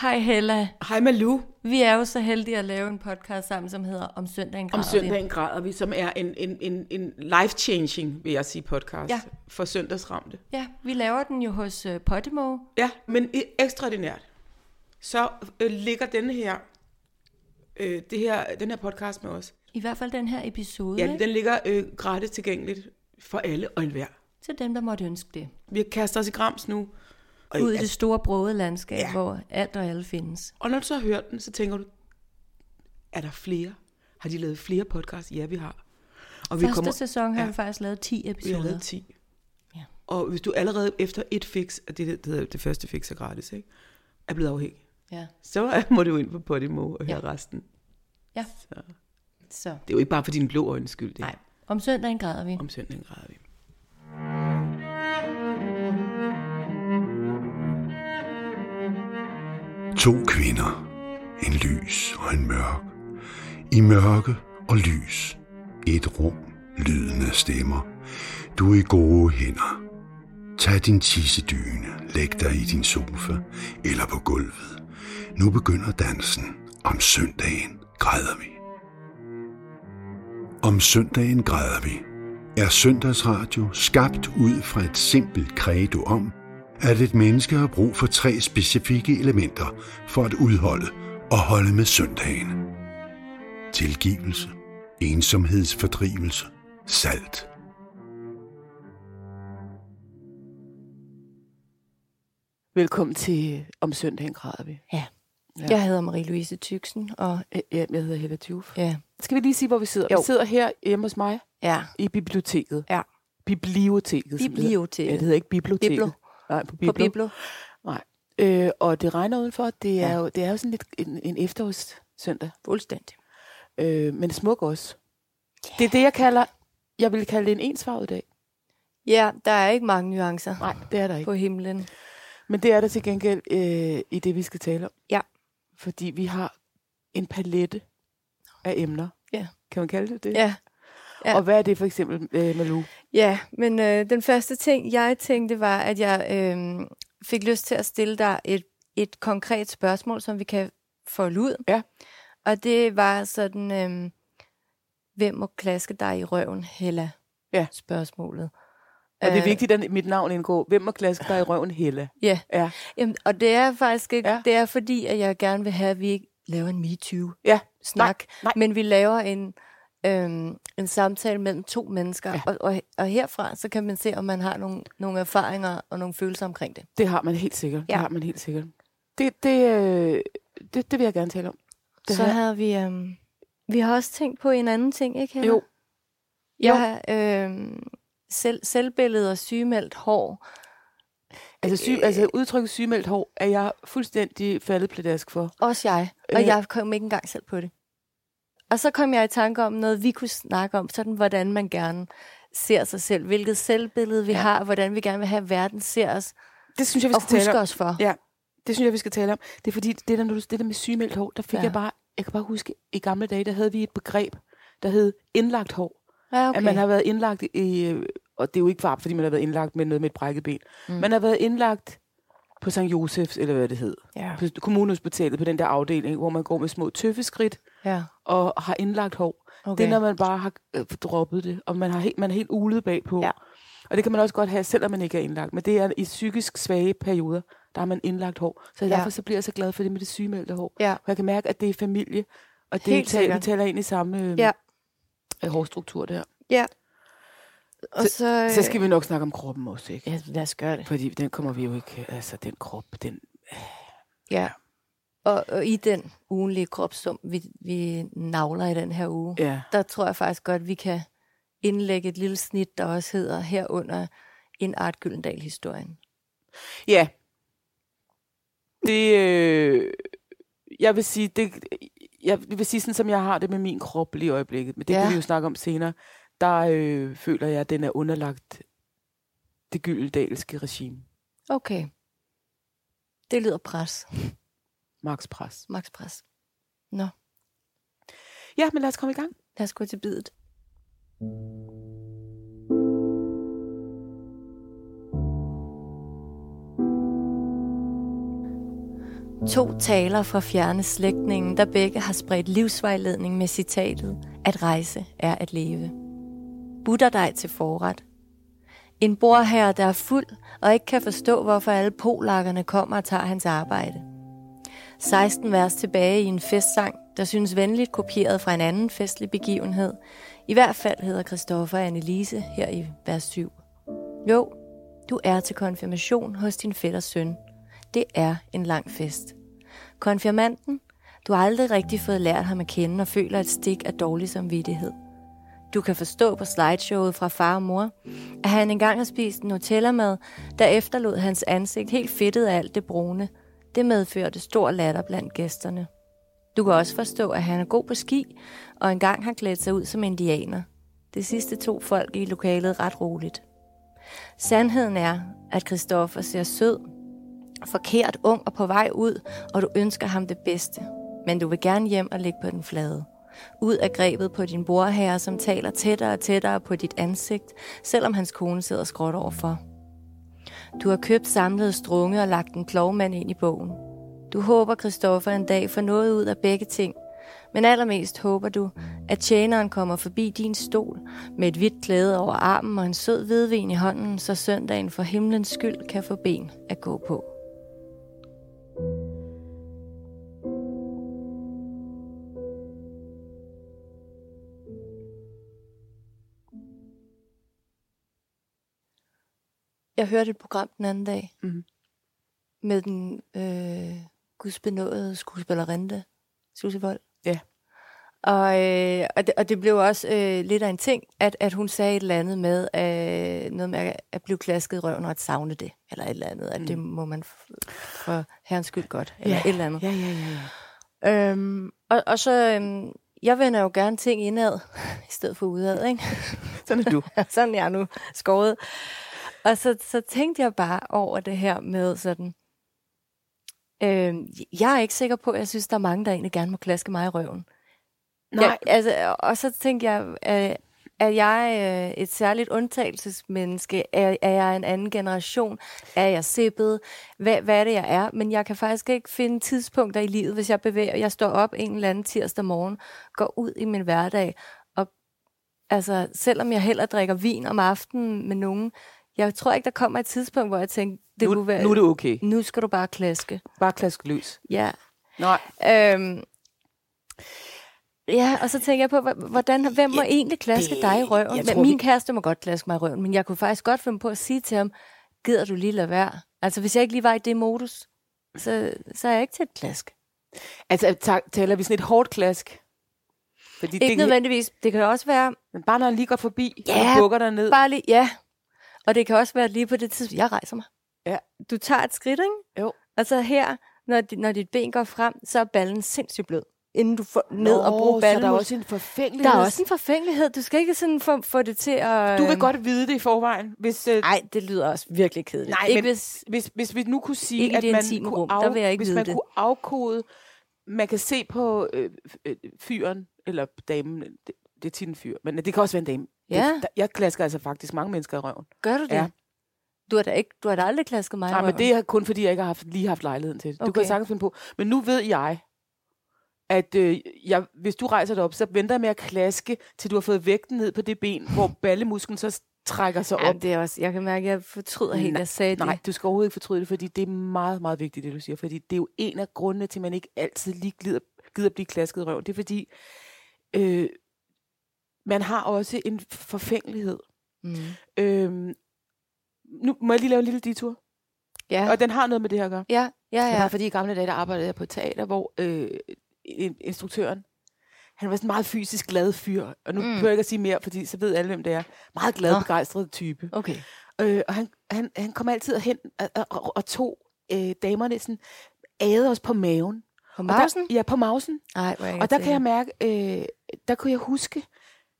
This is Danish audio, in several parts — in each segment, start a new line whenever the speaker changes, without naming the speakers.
Hej Hella.
Hej Malu.
Vi er jo så heldige at lave en podcast sammen, som hedder Om søndagen
Om
græder vi.
søndagen græder vi, som er en, en, en, en life-changing, vil jeg sige, podcast
Ja.
for søndagsramte.
Ja, vi laver den jo hos uh, Podimo.
Ja, men i- ekstraordinært. Så øh, ligger denne her, øh, det her, den her podcast med os.
I hvert fald den her episode.
Ja,
Ja, den...
den ligger øh, gratis tilgængeligt for alle og enhver.
Til dem, der måtte ønske det.
Vi kaster os i grams nu. Og,
Ud i det
altså,
store brode landskab,
Ja.
ja. hvor alt og alle findes.
og når du så har hørt den, så tænker du, er der flere? Har de lavet flere podcasts? Ja, vi har. Og
Første sæson har
Ja.
vi faktisk lavet 10
Vi har
episoder.
lavet 10.
Ja.
Og hvis du allerede efter et fix, og det, det, hedder- det første fix er gratis, ikke? er blevet afhængig,
Ja.
så er- må du ind på Podimo og høre
Ja.
resten.
Ja.
Så.
Så,
Det er jo ikke bare for din blå øjnes skyld, det
nej. Om søndagen græder vi.
om søndagen græder vi.
To kvinder. En lys og en mørk. I mørke og lys. Et rum lydende stemmer. Du er i gode hænder. Tag din tissedyne, læg dig i din sofa eller på gulvet. Nu begynder dansen. Om søndagen græder vi. Om søndagen græder vi er Søndagsradio skabt ud fra et simpelt credo om, at et menneske har brug for tre specifikke elementer for at udholde og holde med søndagen. Tilgivelse, ensomhedsfordrivelse, salt.
Velkommen til Om søndagen græder vi.
Ja.
Ja.
ja. Jeg hedder Marie-Louise Tyksen, og
Øh, ja, Jeg hedder Hella Tjuf.
ja,
Skal vi lige sige, hvor vi sidder?
Jo.
Vi sidder her hjemme hos mig
ja.
i biblioteket.
Ja.
Biblioteket. som det hedder. Ja, det
biblioteket.
hedder ikke biblioteket.
Biblo.
Nej,
På
på Biblo.
Biblo.
Nej. Øh, og det regner udenfor. Det er,
Ja.
jo, det er jo sådan lidt en, en efterårssøndag.
Fuldstændig.
Øh, men smuk også. Det er det, jeg kalder... Jeg ville kalde det en ensfarvet dag.
Ja, der er ikke mange nuancer
Nej, det er der ikke.
på himlen.
Men det er der til gengæld øh, i det, vi skal tale om.
Ja.
Fordi vi har en palette af emner.
Ja.
Kan man kalde det det?
Ja, Ja.
Og hvad er det for eksempel, øh, Malou?
ja men øh, den første ting, jeg tænkte, var, at jeg øh, fik lyst til at stille dig et, et konkret spørgsmål, som vi kan folde ud.
Ja.
Og det var sådan, øh, hvem må klaske dig i røven, Hella?
Ja.
Spørgsmålet.
Og det er
Øh,
vigtigt, at mit navn indgår. Hvem må klaske dig i røven, Hella?
Ja.
Ja.
Jamen, og det er faktisk ikke,
Ja.
ja. det er fordi, at jeg gerne vil have, at vi ikke laver en MeToo-snak,
Ja. Nej.
men vi laver en, øhm, en samtale mellem to mennesker,
Ja.
ja. og, og, og herfra, så kan man se, om man har nogle, nogle erfaringer og nogle følelser omkring det.
Det har man helt sikkert.
Ja.
Ja. Det har man helt sikkert. Det, det, øh, det, det vil jeg gerne tale om. Det
så
har-
havde vi, øhm, vi har også tænkt på en anden ting, ikke Hella?
Jo.
Jeg har øhm, selv, selvbillede og sygemeldt hår.
Altså, syg, altså udtrykket sygemeldt hår er jeg fuldstændig faldet pladask for.
Også jeg. Og
Øh.
jeg kom ikke engang selv på det. Og så kom jeg i tanke om noget, vi kunne snakke om, sådan hvordan man gerne ser sig selv, hvilket selvbillede vi ja. har, hvordan vi gerne vil have, at verden ser os,
Det synes jeg, vi
og
skal tale
husker
om.
os for.
Ja. Det synes jeg, vi skal tale om. Det er fordi, det der, når du, det der med sygemeldt hår, der fik ja.
Ja.
jeg bare... Jeg kan bare huske, i gamle dage, der havde vi et begreb, der hed indlagt hår.
Ja,
Okay. At man har været indlagt i... øh, Og det er jo ikke bare, fordi man har været indlagt med noget med et brækket ben. Mm. Man har været indlagt på St. Josefs, eller hvad det hed.
ja.
På kommunehospitalet, på den der afdeling, hvor man går med små tøffeskridt
ja.
og har indlagt hår. Okay. Det er, når man bare har øh, droppet det, og man, har helt, man er helt ulet bagpå.
Ja.
Og det kan man også godt have, selvom man ikke er indlagt. Men det er i psykisk svage perioder, der har man indlagt hår. Så
Ja.
derfor så bliver jeg så glad for det med det sygemeldte hår.
Ja.
For jeg kan mærke, at det er familie, og det
Helt
taler, vi
sikkert.
taler ind i samme øh,
Ja.
øh, hårstruktur der.
ja. Og så, så,
Så skal vi nok snakke om kroppen også, ikke?
Øh. Ja, lad os gøre det.
Fordi den kommer vi jo ikke... Altså, den krop, den...
Ja. Og, og i den ugenlige kropssum, vi, vi navler i den her uge,
Ja.
der tror jeg faktisk godt, vi kan indlægge et lille snit, der også hedder herunder en Art Gyldendal-historien.
Ja. Det... Øh, jeg vil sige, det, jeg vil sige sådan, som jeg har det med min krop lige i øjeblikket, men det ja.
Ja.
kan vi jo snakke om senere, der øh, føler jeg, at den er underlagt det gyldendalske regime.
Okay. Det lyder pres.
Max Pres.
Max pres.
Ja, men lad os komme i gang.
Lad os gå til bidet. To taler fra fjerne slægtningen, der begge har spredt livsvejledning med citatet, at rejse er at leve. Butter dig til forret. En borherre, der er fuld og ikke kan forstå, hvorfor alle polakkerne kommer og tager hans arbejde. 16 vers tilbage i en festsang, der synes venligt kopieret fra en anden festlig begivenhed. I hvert fald hedder Christoffer Annelise her i vers 7. Jo, du er til konfirmation hos din fætters søn. Det er en lang fest. Konfirmanden, du har aldrig rigtig fået lært ham at kende og føler et stik af dårlig samvittighed. Du kan forstå på slideshowet fra far og mor, at han engang har spist en Nutella-mad, der efterlod hans ansigt helt fedtet af alt det brune. Det medførte stor latter blandt gæsterne. Du kan også forstå, at han er god på ski, og engang har klædt sig ud som indianer. Det sidste tog folk i lokalet ret roligt. Sandheden er, at Christoffer ser sød, forkert ung og på vej ud, og du ønsker ham det bedste. Men du vil gerne hjem og ligge på den flade. Ud af grebet på din borherre, som taler tættere og tættere på dit ansigt, selvom hans kone sidder skråt overfor. Du har købt samlede strunge og lagt en klovmand ind i bogen. Du håber, Christoffer en dag får noget ud af begge ting. Men allermest håber du, at tjeneren kommer forbi din stol med et hvidt klæde over armen og en sød hvidvin i hånden, så søndagen for himlens skyld kan få ben at gå på. Jeg hørte et program den anden dag
Mhm.
med den øh, gudsbenåede skuespillerinde, Susie Vold.
Ja.
Og, øh, og, det, og det blev også øh, lidt af en ting, at, at hun sagde et eller andet med, øh, noget med at, at blive klasket i røven og at savne det, eller et eller andet, at mm. det må man f- for herrens skyld godt, eller et eller andet.
Ja, ja, ja. ja.
Øhm, og, og så, øhm, jeg vender jo gerne ting indad, i stedet for udad, ikke?
Sådan er du.
sådan er jeg nu skåret. Og så, så tænkte jeg bare over det her med sådan, øhm, jeg er ikke sikker på, at jeg synes, der er mange, der egentlig gerne må klaske mig i røven.
Nej.
Jeg, altså, og så tænkte jeg, øh, er jeg øh, et særligt undtagelsesmenneske? Er, er jeg en anden generation? Er jeg sippet? Hvad, hvad er det, jeg er? Men jeg kan faktisk ikke finde tidspunkter i livet, hvis jeg bevæger. Jeg står op en eller anden tirsdag morgen, går ud i min hverdag, og altså, selvom jeg heller drikker vin om aftenen med nogen, jeg tror ikke, der kommer et tidspunkt, hvor jeg tænker, det
Nu,
kunne være,
nu er det okay.
nu skal du bare klaske.
Bare klask løs.
Ja.
Nej.
Øhm, ja, og så tænker jeg på, hv- hvordan, hvem må egentlig klaske dig i røven?
jeg
Men
tror,
min
vi-
kæreste må godt klaske mig i røven, men jeg kunne faktisk godt finde på at sige til ham, gider du lige lade være? Altså, hvis jeg ikke lige var i det modus, så, så er jeg ikke til et klask.
Altså, ta- taler vi sådan et hårdt klask? Fordi
Ikke nødvendigvis. Det kan også være,
Men bare når han lige går forbi,
Ja,
og bukker dig ned.
bare lige, ja. Og det kan også være lige på det tidspunkt, jeg rejser mig.
Ja.
Du tager et skridt, ikke?
Jo.
Og så her, når, di- når dit ben går frem, så er ballen sindssygt blød, inden du får ned
Nå,
og bruger
så
ballen.
der er også en forfængelig.
Der er også en forfængelighed. Du skal ikke sådan få, få det til at...
Du vil godt vide det i forvejen, hvis... Øh,
Nej, det lyder også virkelig kedeligt.
Nej,
ikke
men-
hvis...
hvis, hvis vi nu kunne sige,
Ikke i
at
det
man
intime
kunne,
rum,
af,
der vil jeg ikke
hvis
vide
man
det.
kunne afkode, man kan se på øh, f- øh, fyren, eller damen, det, det er tit en fyr, men det kan også være en dame.
Ja.
Det, der, jeg klasker altså faktisk mange mennesker i røven.
Gør du det?
Ja.
Du har da, ikke, du har da aldrig klasket mig i
Nej, men
røven.
det er kun fordi, jeg ikke har haft, lige haft lejligheden til det. Du
Okay.
kan sagtens finde på. Men nu ved jeg, at øh, jeg, hvis du rejser dig op, så venter jeg med at klaske, til du har fået vægten ned på det ben, hvor ballemusklen så s- trækker sig op.
Jamen, det er også... Jeg kan mærke, at jeg fortryder helt, at jeg sagde
Nej,
det.
du skal overhovedet ikke fortryde det, fordi det er meget, meget vigtigt, det du siger. Fordi det er jo en af grundene til, at man ikke altid lige glider, gider blive klasket i røven. Det er fordi, øh, man har også en forfængelighed.
Mm.
Øh, nu må jeg lige lave en lille detur.
Ja.
Ja. Og den har noget med det her at gøre.
ja, ja,
Det var
ja.
fordi i gamle dage, der arbejdede jeg på et teater, hvor øh, in- instruktøren, han var sådan en meget fysisk glad fyr. Og nu
Mm.
mm. behøver jeg ikke at sige mere, fordi så ved alle, hvem det er. Meget glad,
Nå.
begejstret type.
Okay.
Øh, og han, han, han kom altid hen og, og- og, og tog øh, damerne sådan, æde os på maven.
På
Og der-
mausen?
Ja, på mausen.
Nej, hvor er
Og der kan jeg mærke, øh, der kunne jeg huske,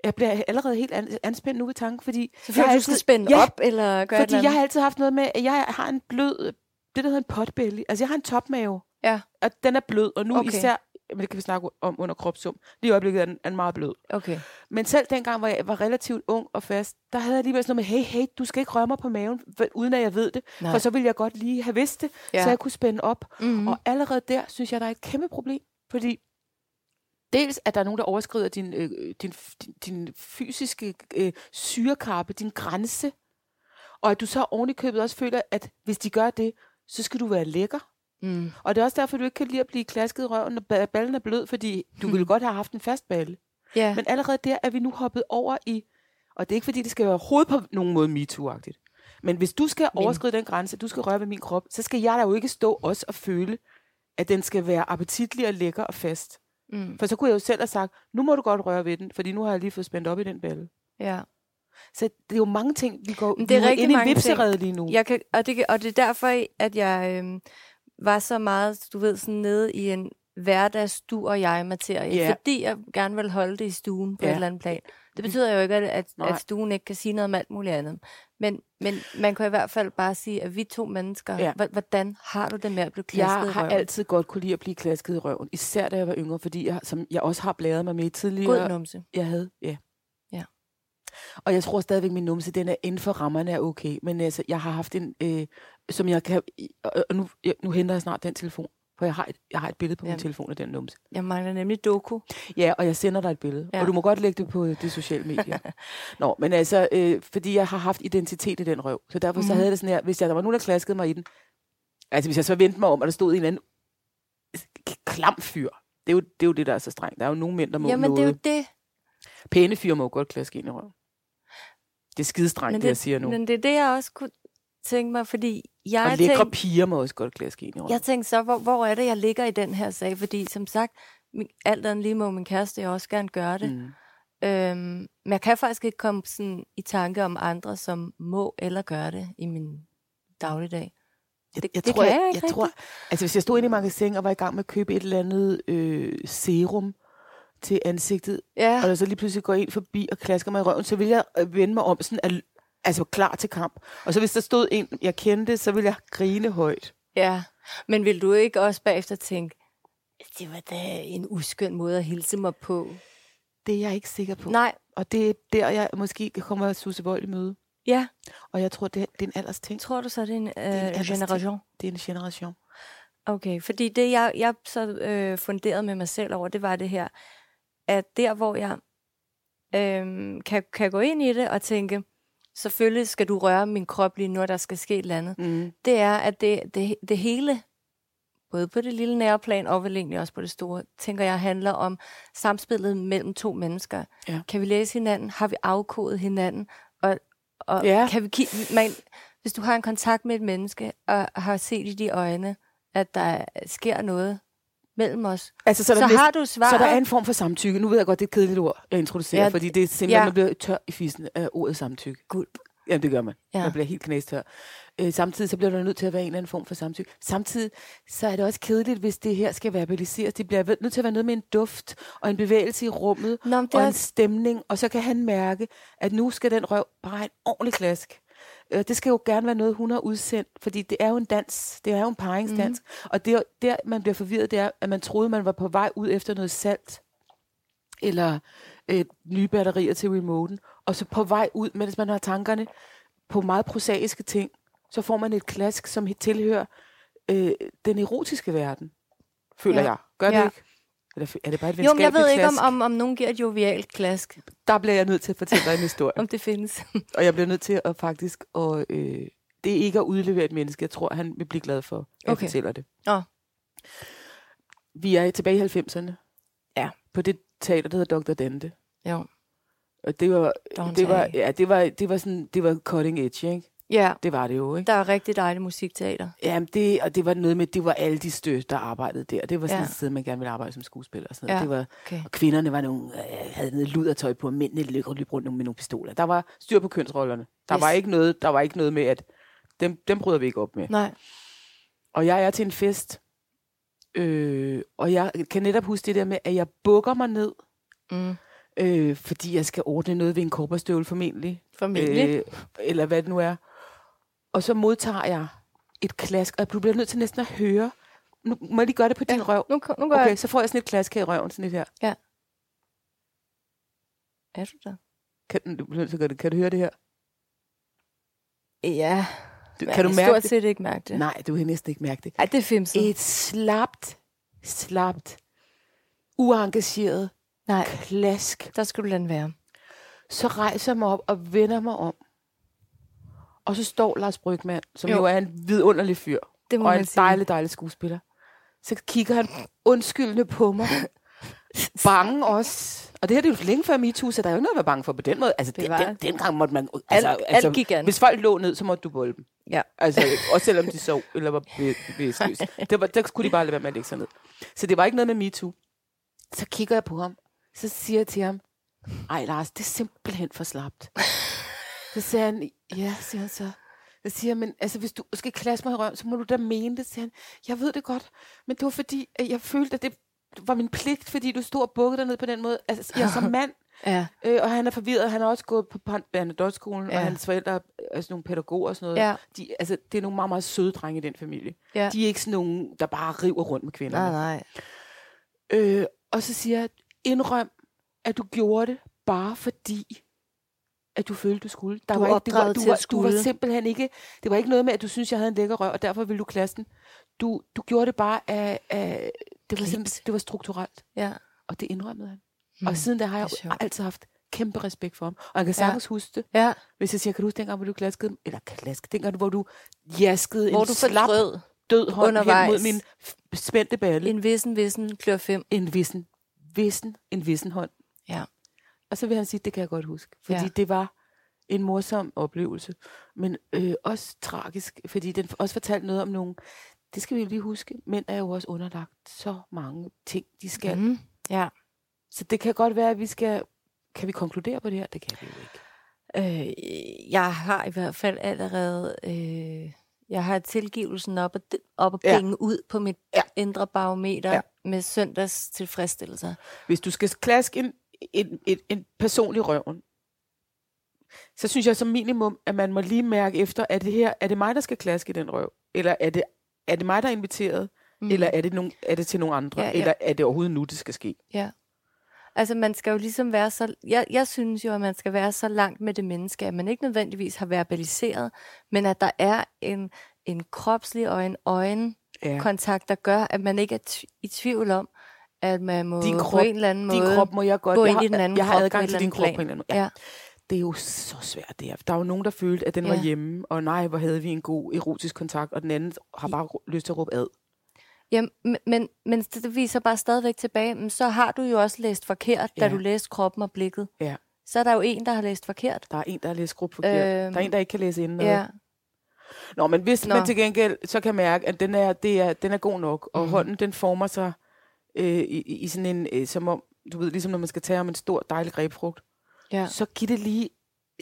jeg bliver allerede helt an, anspændt nu ved tanken, fordi... jeg har
Selvfølgelig, du skal
altid-
spænde
Ja,
op, eller gøre et
fordi
eller
jeg
andet.
har altid haft noget med, at jeg har en blød, det der hedder en potbelly. Altså jeg har en topmave.
Ja.
Og den er blød, og nu
Okay.
okay. især men det kan vi snakke om under kropsum. Lige i øjeblikket er den, er den meget blød.
Okay.
Men selv dengang, hvor jeg var relativt ung og fast, der havde jeg alligevel sådan noget med, hey, hey, du skal ikke røre mig på maven, vel, uden at jeg ved det.
Nej.
Nej. For så ville jeg godt lige have vidst det,
Ja.
ja. så jeg kunne spænde op.
Mm.
Mm. Og allerede der, synes jeg, der er et kæmpe problem. Fordi dels, at der er nogen, der overskrider din, øh, øh, din, din, din fysiske øh, syrekarpe, din grænse. Og at du så oven i købet også føler, at hvis de gør det, så skal du være lækker.
Mm.
Og det er også derfor, du ikke kan lide at blive klasket i røven, når ba- ballen er blød, fordi du ville godt have haft en fast balle.
Ja.
Men allerede der er vi nu hoppet over i, og det er ikke fordi, det skal være overhovedet på nogen måde MeToo-agtigt. Men hvis du skal
Men-
overskride den grænse, du skal røre ved min krop, så skal jeg da jo ikke stå også og føle, at den skal være appetitlig og lækker og fast.
Mm.
For så kunne jeg jo selv have sagt, nu må du godt røre ved den, fordi nu har jeg lige fået spændt op i den balle.
ja.
Så det er jo mange ting, vi går
Men det er
vi
rigtig
ind i
mange ting.
vipserede lige nu.
Jeg kan, og, det, kan- og det er derfor, at jeg øhm, var så meget, du ved, sådan nede i en hverdags du og jeg materie.
Ja.
Fordi jeg gerne vil holde det i stuen på ja.
Ja. Mm.
et eller andet plan. Det betyder jo ikke, at, at,
Nej.
at stuen ikke kan sige noget om alt muligt andet. Men, men man kan i hvert fald bare sige, at vi to mennesker, ja.
Ja.
hvordan har du det med at blive klasket
Jeg
i
har
røven?
altid godt kunne lide at blive klasket i røven, især da jeg var yngre, fordi jeg, som jeg også har blæret mig med i tidligere...
God numse.
Jeg havde, ja.
Ja.
Og jeg tror stadigvæk, min numse, den er inden for rammerne er okay. Men altså, jeg har haft en, øh, som jeg kan... Og og nu, jeg, nu henter jeg snart den telefon, for jeg har et, jeg har et billede på
Jamen.
min telefon af den numse.
Jeg mangler nemlig doku.
Ja, og jeg sender dig et billede.
Ja.
Ja. Og du må godt lægge det på øh, de sociale medier. Nå, men altså, øh, fordi jeg har haft identitet i den røv. Så derfor mm. så
Mhm.
havde jeg det sådan her, hvis jeg, der var nogen, der klaskede mig i den. Altså, hvis jeg så vendte mig om, og der stod en eller anden k- klam fyr. Det er, jo, det er jo det, der er så strengt. Der er jo nogle mænd, der må
Jamen,
noget.
det er jo det.
Pæne fyre må jo godt klaske ind i røven. Det er skidestrengt,
Men
det, det, jeg siger nu.
Men det er det, jeg også kunne tænke mig, fordi jeg
og lækre
tænkte-
piger må også godt klaske ind i røven.
Jeg tænkte så, hvor, hvor er det, jeg ligger i den her sag? Fordi som sagt, min, alt andet lige må min kæreste jo også gerne gøre det.
Mm.
Mm. Øhm, men jeg kan faktisk ikke komme sådan i tanke om andre, som må eller gør det i min dagligdag.
Jeg,
Det-
jeg,
det
tror,
kan
jeg,
jeg
jeg,
ikke
jeg tror, altså hvis jeg stod inde i magasin og var i gang med at købe et eller andet øh, serum til ansigtet,
Ja,
og der så lige pludselig går en forbi og klasker mig i røven, så vil jeg øh, vende mig om sådan, al, altså klar til kamp. Og så hvis der stod en, jeg kendte, så ville jeg grine højt.
ja. Men vil du ikke også bagefter tænke, det var da en uskøn måde at hilse mig på?
Det er jeg ikke sikker på.
Nej,
Og det er der, jeg måske kommer Susse Vold i møde.
ja.
Og jeg tror, det, er- det er en alders ting.
Tror du så, det er en, øh,
er en aldersting.
generation?
Det er en generation.
Okay, fordi det, jeg, jeg så øh, funderede med mig selv over, det var det her, at der, hvor jeg øh, kan, kan gå ind i det og tænke, selvfølgelig skal du røre min krop lige nu, og der skal ske et eller andet,
Mm.
det er, at det, det, det hele, både på det lille nære plan, og vel egentlig også på det store, tænker jeg, handler om samspillet mellem to mennesker.
Ja.
Kan vi læse hinanden? Har vi afkodet hinanden? Og, og
Ja.
kan vi kigge, man, hvis du har en kontakt med et menneske, og har set i de øjne, at der sker noget mellem os,
Altså,
så,
så,
så
der,
har du svaret.
så der er en form for samtykke. Nu ved jeg godt, det er et kedeligt ord, jeg introducerer,
Ja,
ja, fordi det er simpelthen,
ja.
ja. man bliver tør i fissen af ordet samtykke.
Gulp.
Jamen, det gør man.
Ja.
Ja. Man bliver helt knæstør. Øh, samtidig så bliver der nødt til at være en eller anden form for samtykke. Samtidig så er det også kedeligt, hvis det her skal verbaliseres. Det bliver ved- nødt til at være noget med en duft og en bevægelse i rummet
Nå, men det er
og en
også-
stemning. Og så kan han mærke, at nu skal den røv bare have en ordentlig klask. Øh, det skal jo gerne være noget, hun har udsendt, fordi det er jo en dans. Det er jo en paringsdans.
Mhm.
Mm-hmm. Og det, er- der, man bliver forvirret, det er, at man troede, man var på vej ud efter noget salt eller øh, nye batterier til remoten, og så på vej ud, mens man har tankerne på meget prosaiske ting, så får man et klask, som tilhører øh, den erotiske verden, føler
Ja.
jeg. Gør det
Ja.
ikke? Eller er det bare
jo,
et
men jeg
venskabeligt
ved ikke, om,
klask?
om, om nogen giver et jovialt klask,
Der bliver jeg nødt til at fortælle dig en historie.
om det findes.
og jeg bliver nødt til at faktisk... Og, øh, det er ikke at udlevere et menneske. Jeg tror, han vil blive glad for, at jeg
Okay.
fortæller det.
Nå.
Vi er tilbage i 90'erne.
Ja.
På det teater, der hedder Dr. Dante.
jo.
Og det var,
Don't
det var,
say.
ja, det var, det var sådan, det var cutting edge, ikke?
Ja,
Det var det jo, ikke?
der er rigtig dejligt musikteater.
Jamen det, og det var noget med, det var alle de stø, der arbejdede der. Det var sådan
Ja.
ja. et sted, man gerne ville arbejde som skuespiller og sådan noget.
Ja,
Det var,
okay.
Og kvinderne var nogle, øh, havde noget ludertøj på, og mændene løb løb rundt med nogle pistoler. Der var styr på kønsrollerne. Der,
Yes.
yes. var, ikke noget, der var ikke noget med, at dem, dem bryder vi ikke op med.
Nej.
Og jeg er til en fest, øh, og jeg kan netop huske det der med, at jeg bukker mig ned,
Mm.
øh, fordi jeg skal ordne noget ved en korperstøvle formentlig.
Formentlig.
Øh, eller hvad det nu er. Og så modtager jeg et klask, og jeg bliver nødt til næsten at høre nu må jeg lige gøre det på din ja, røv.
Nu, ko- nu gør okay.
Okay,
jeg.
så får jeg sådan et klask her i røven, sådan lidt her.
Er du der?
Kan, du bliver nødt til at gøre det. kan du høre det her?
Ja.
Du,
men
kan du
jeg kan
mærke
stort
det?
set Mm. ikke mærke det.
Nej, du kan næsten ikke mærke det.
Ej, det er fimset.
Et slapt, slapt, uengageret
Nej,
klask.
der skal du lade den være.
Så rejser jeg mig op og vender mig om. Og så står Lars Brygman, som jo,
Jo.
jo er en vidunderlig fyr.
Det må
og
man
en
sige.
dejlig, dejlig skuespiller. Så kigger han undskyldende på mig. Bange også. Og det her det er jo længe før MeToo, så der er jo ikke noget at være bange for på den måde. Altså, den,
Bevares.
den, dengang måtte man...
Alt,
Altså,
altså,
altså,
alt gik an.
hvis folk lå ned, så måtte du bolde dem.
Ja.
Altså, også selvom de sov eller var be- bevidstløse. Det var, der skulle de bare lade være med at lægge sig ned. Så det var ikke noget med MeToo. Så kigger jeg på ham. Så siger jeg til ham, ej Lars, det er simpelthen for slapt. Så siger han, ja, siger han så. Så siger jeg, men altså, hvis du skal klasse mig i røven, så må du da mene det, siger han. Jeg ved det godt, men det var fordi, at jeg følte, at det var min pligt, fordi du stod og bukkede dig ned på den måde. Altså, jeg som mand,
Ja.
øh, og han er forvirret, han har også gået på Pan- Bernadotte-skolen, ja.
Ja.
og hans forældre er sådan nogle pædagoger og sådan noget.
Ja.
De, altså, det er nogle meget, meget søde drenge i den familie.
ja.
De er ikke sådan nogen, der bare river rundt med kvinderne.
Nej, nej.
Øh, og så siger jeg, indrøm, at du gjorde det bare fordi, at du følte, du skulle. Der
Du
var ikke, det var,
opdraget
du,
til
var,
at
du var
skulle.
simpelthen ikke, det var ikke noget med, at du synes, jeg havde en lækker røv, og derfor ville du klasse den. Du, du gjorde det bare af, af det, var
Glimt.
simpelthen, det var strukturelt.
Ja.
Og det indrømmede han.
Mm,
Mm, og siden da har jeg
det er
jo
sjovt.
altid haft kæmpe respekt for ham. Og jeg kan sagtens ja. huske det.
Ja.
Hvis jeg siger, kan du huske dengang, hvor du klaskede, eller klaskede, dengang, hvor du jaskede
Hvor
en
du
slap
fortrød
død hånd hen mod
undervejs.
min f- spændte balle
en vissen, vissen, klør fem.
en vissen, vissen, en vissen hånd.
Ja.
Og så vil han sige, det kan jeg godt huske. Fordi
Ja.
ja. det var en morsom oplevelse, men øh, også tragisk, fordi den f- også fortalte noget om nogen. Det skal vi jo lige huske. Mænd er jo også underlagt så mange ting, de skal. Mm.
Mm. Ja. Mm-hmm.
Så det kan godt være, at vi skal... Kan vi konkludere på det her? Det kan vi jo ikke.
Øh, jeg har i hvert fald allerede... Øh, jeg har tilgivelsen op og, op og
Ja.
penge ud på mit ja.
Ja.
indre barometer ja.
Ja.
med søndags tilfredsstillelser.
Hvis du skal klaske en, en, en, en person i røven, så synes jeg som minimum, at man må lige mærke efter, er det her, er det mig, der skal klaske i den røv? Eller er det, er det mig, der er inviteret? Mm. Eller er det, nogen, er det til nogen andre?
Ja, ja.
Ja, ja. Eller er det overhovedet nu, det skal ske?
Altså, man skal jo ligesom være så... Jeg, jeg synes jo, at man skal være så langt med det menneske, at man ikke nødvendigvis har verbaliseret, men at der er en, en kropslig og en øjenkontakt,
Ja.
der gør, at man ikke er tv- i tvivl om, at man må
Din
på
krop-
en eller anden
Din
måde...
krop må jeg godt...
gå
jeg
ind i
har-
den anden
Jeg har
krop på
adgang
et
til
eller
din
andet
krop
plan.
på en eller anden
Ja.
Det er jo så svært, det her. Der er jo nogen, der følte, at den ja.
Ja.
var hjemme, og nej, hvor havde vi en god erotisk kontakt, og den anden har bare ru- lyst til at råbe ad.
Ja, men, men, men det det viser bare stadigvæk tilbage, men så har du jo også læst forkert, da
Ja.
du læste kroppen og blikket.
Ja.
Så er der jo en, der har læst forkert.
Der er en, der har læst gruppe forkert.
Øhm,
der er en, der ikke kan læse inden.
Ja,
Nå, men hvis
Nå.
Nå. man til gengæld så kan mærke, at den er, det er, den er god nok, og
Mhm.
mm. hånden den former sig øh, i, i i sådan en, øh, som om, du ved, ligesom når man skal tage om en stor, dejlig grebfrugt,
ja.
ja. så giv det lige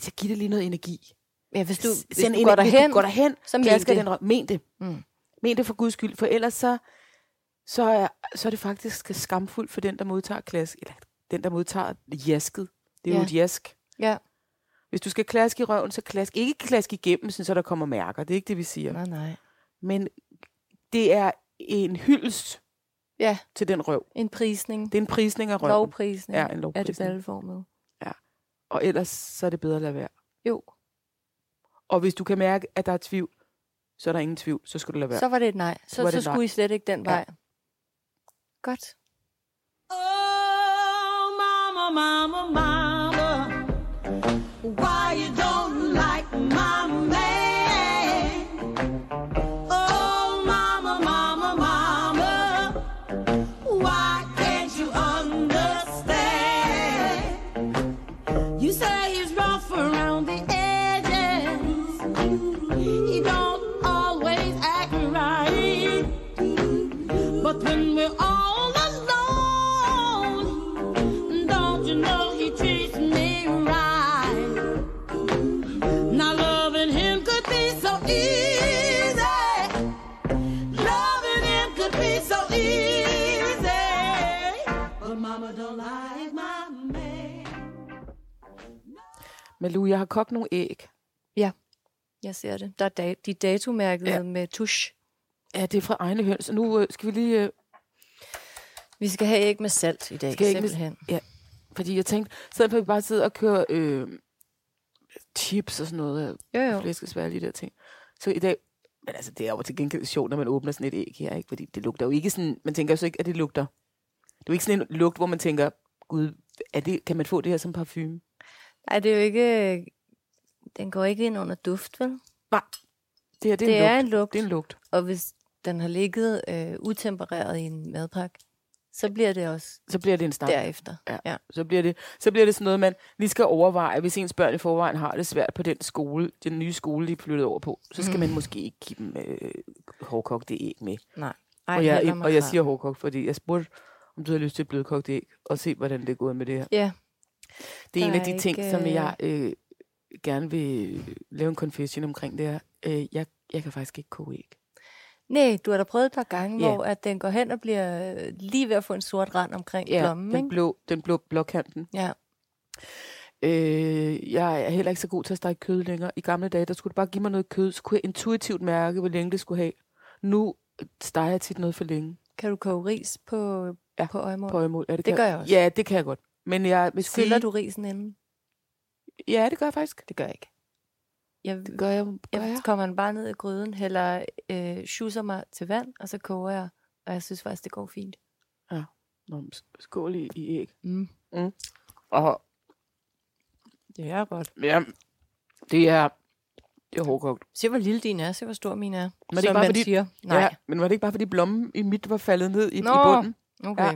så giv det lige noget energi.
ja hvis du,
S-
hvis
send
du
ener-
går
Hvis
derhen,
du går derhen,
så mener
klasker
det.
den røv. Men det.
Mm.
Men det for guds skyld, for ellers så, så, er, så er det faktisk skamfuldt for den, der modtager klask, eller den, der modtager jasket. Det er ja.
Ja.
jo et jask.
Ja.
Hvis du skal klaske i røven, så klask. Ikke klask igennem, sådan, så der kommer mærker. Det er ikke det, vi siger.
Nej, nej.
Men det er en hyldest
Ja.
til den røv.
En prisning.
Det er en prisning af røven.
Lovprisning.
Ja, en
Er det
lovprisning.
balleformet?
Og ellers så er det bedre at lade være.
Jo,
Og hvis du kan mærke, at der er tvivl, så er der ingen tvivl. Så skal du lade være.
så var det et nej. Så,
var det
så
et nej.
skulle I slet ikke den
Ja.
vej. Godt.
Oh, mama, mama, mama, why you don't like my man? Oh, mama, mama, mama, why can't you understand? You say he's rough around the edges, he don't always act right. But when we're all alone, don't you know he treats me right? Now loving him could be so easy. Loving him could be so easy. But mama don't like my man.
Malu, jeg har kogt nogle æg.
Jeg ser det. Der er da- de er datomærket ja. med tusch.
Ja, det er fra egne høns. Og nu øh, skal vi lige... Øh,
Vi skal have æg med salt i dag,
Skal æg med-
simpelthen.
Ja, fordi jeg tænkte, så på at vi bare sidder og kører øh, chips og sådan noget,
Jo,
jo.
jo.
flæskesvær og de der ting. Så i dag, men altså det er jo til gengæld sjovt, når man åbner sådan et æg her, ikke? fordi det lugter jo ikke sådan, man tænker jo så ikke, at det lugter. Det er jo ikke sådan en lugt, hvor man tænker, gud, er det, kan man få det her som parfume?
Ej, det er jo ikke... Den går ikke ind under duft, vel?
Det her, det er,
Det
en,
er
lugt.
en lugt.
Det er en lugt.
Og hvis den har ligget øh, utempereret i en madpakke, så bliver det også
Så bliver det en stank.
derefter.
Så bliver, det, så bliver det sådan noget, man lige skal overveje, hvis ens børn i forvejen har det svært på den skole, den nye skole, de er flyttet over på, så skal mm. man måske ikke give dem øh, hårdkogte æg med.
Nej.
Ej,
Ej,
og, jeg,
heller
og jeg
makrel.
siger hårdkogt, fordi jeg spurgte, om du havde lyst til et blødkogt æg, og se, hvordan det er gået med det her.
Ja,
Det er en
Der
af
er
de ting,
ikke,
som
øh,
jeg øh, gerne vil øh, lave en confession omkring, det er, øh, jeg, jeg kan faktisk ikke koge æg.
nej, du har da prøvet et par gange,
Ja.
yeah. hvor at den går hen og bliver øh, lige ved at få en sort rand omkring yeah, blommen,
den
ikke?
blå, den blå blåkanten.
Ja.
Øh, jeg er heller ikke så god til at stege kød længere. I gamle dage, der skulle du bare give mig noget kød, så kunne jeg intuitivt mærke, hvor længe det skulle have. Nu steger jeg tit noget for længe.
Kan du koge ris på,
Ja,
ja, på øjemål?
På øjemål. Ja,
Det gør jeg også.
Ja, det kan jeg godt. Men jeg vil
Skylder
sige-
du risen inden?
Ja, det gør jeg faktisk.
Det gør jeg ikke. Jeg,
Det gør jeg. Gør
jeg,
jeg?
kommer den bare ned i gryden, hælder øh, schusser mig til vand, og så koger jeg. Og jeg synes faktisk, det går fint.
Nå, men s- skål i, i æg.
Mm.
Og
Det er godt.
ja, det er, det er hårdkogt.
Se, hvor lille din er. Se, hvor stor min er.
Men det er
Som
bare
man
fordi-
siger. Nej.
Ja, men var det ikke bare, fordi blommen i mit var faldet ned i, i
Nå.
bunden?
Okay.
Ja.
Ja.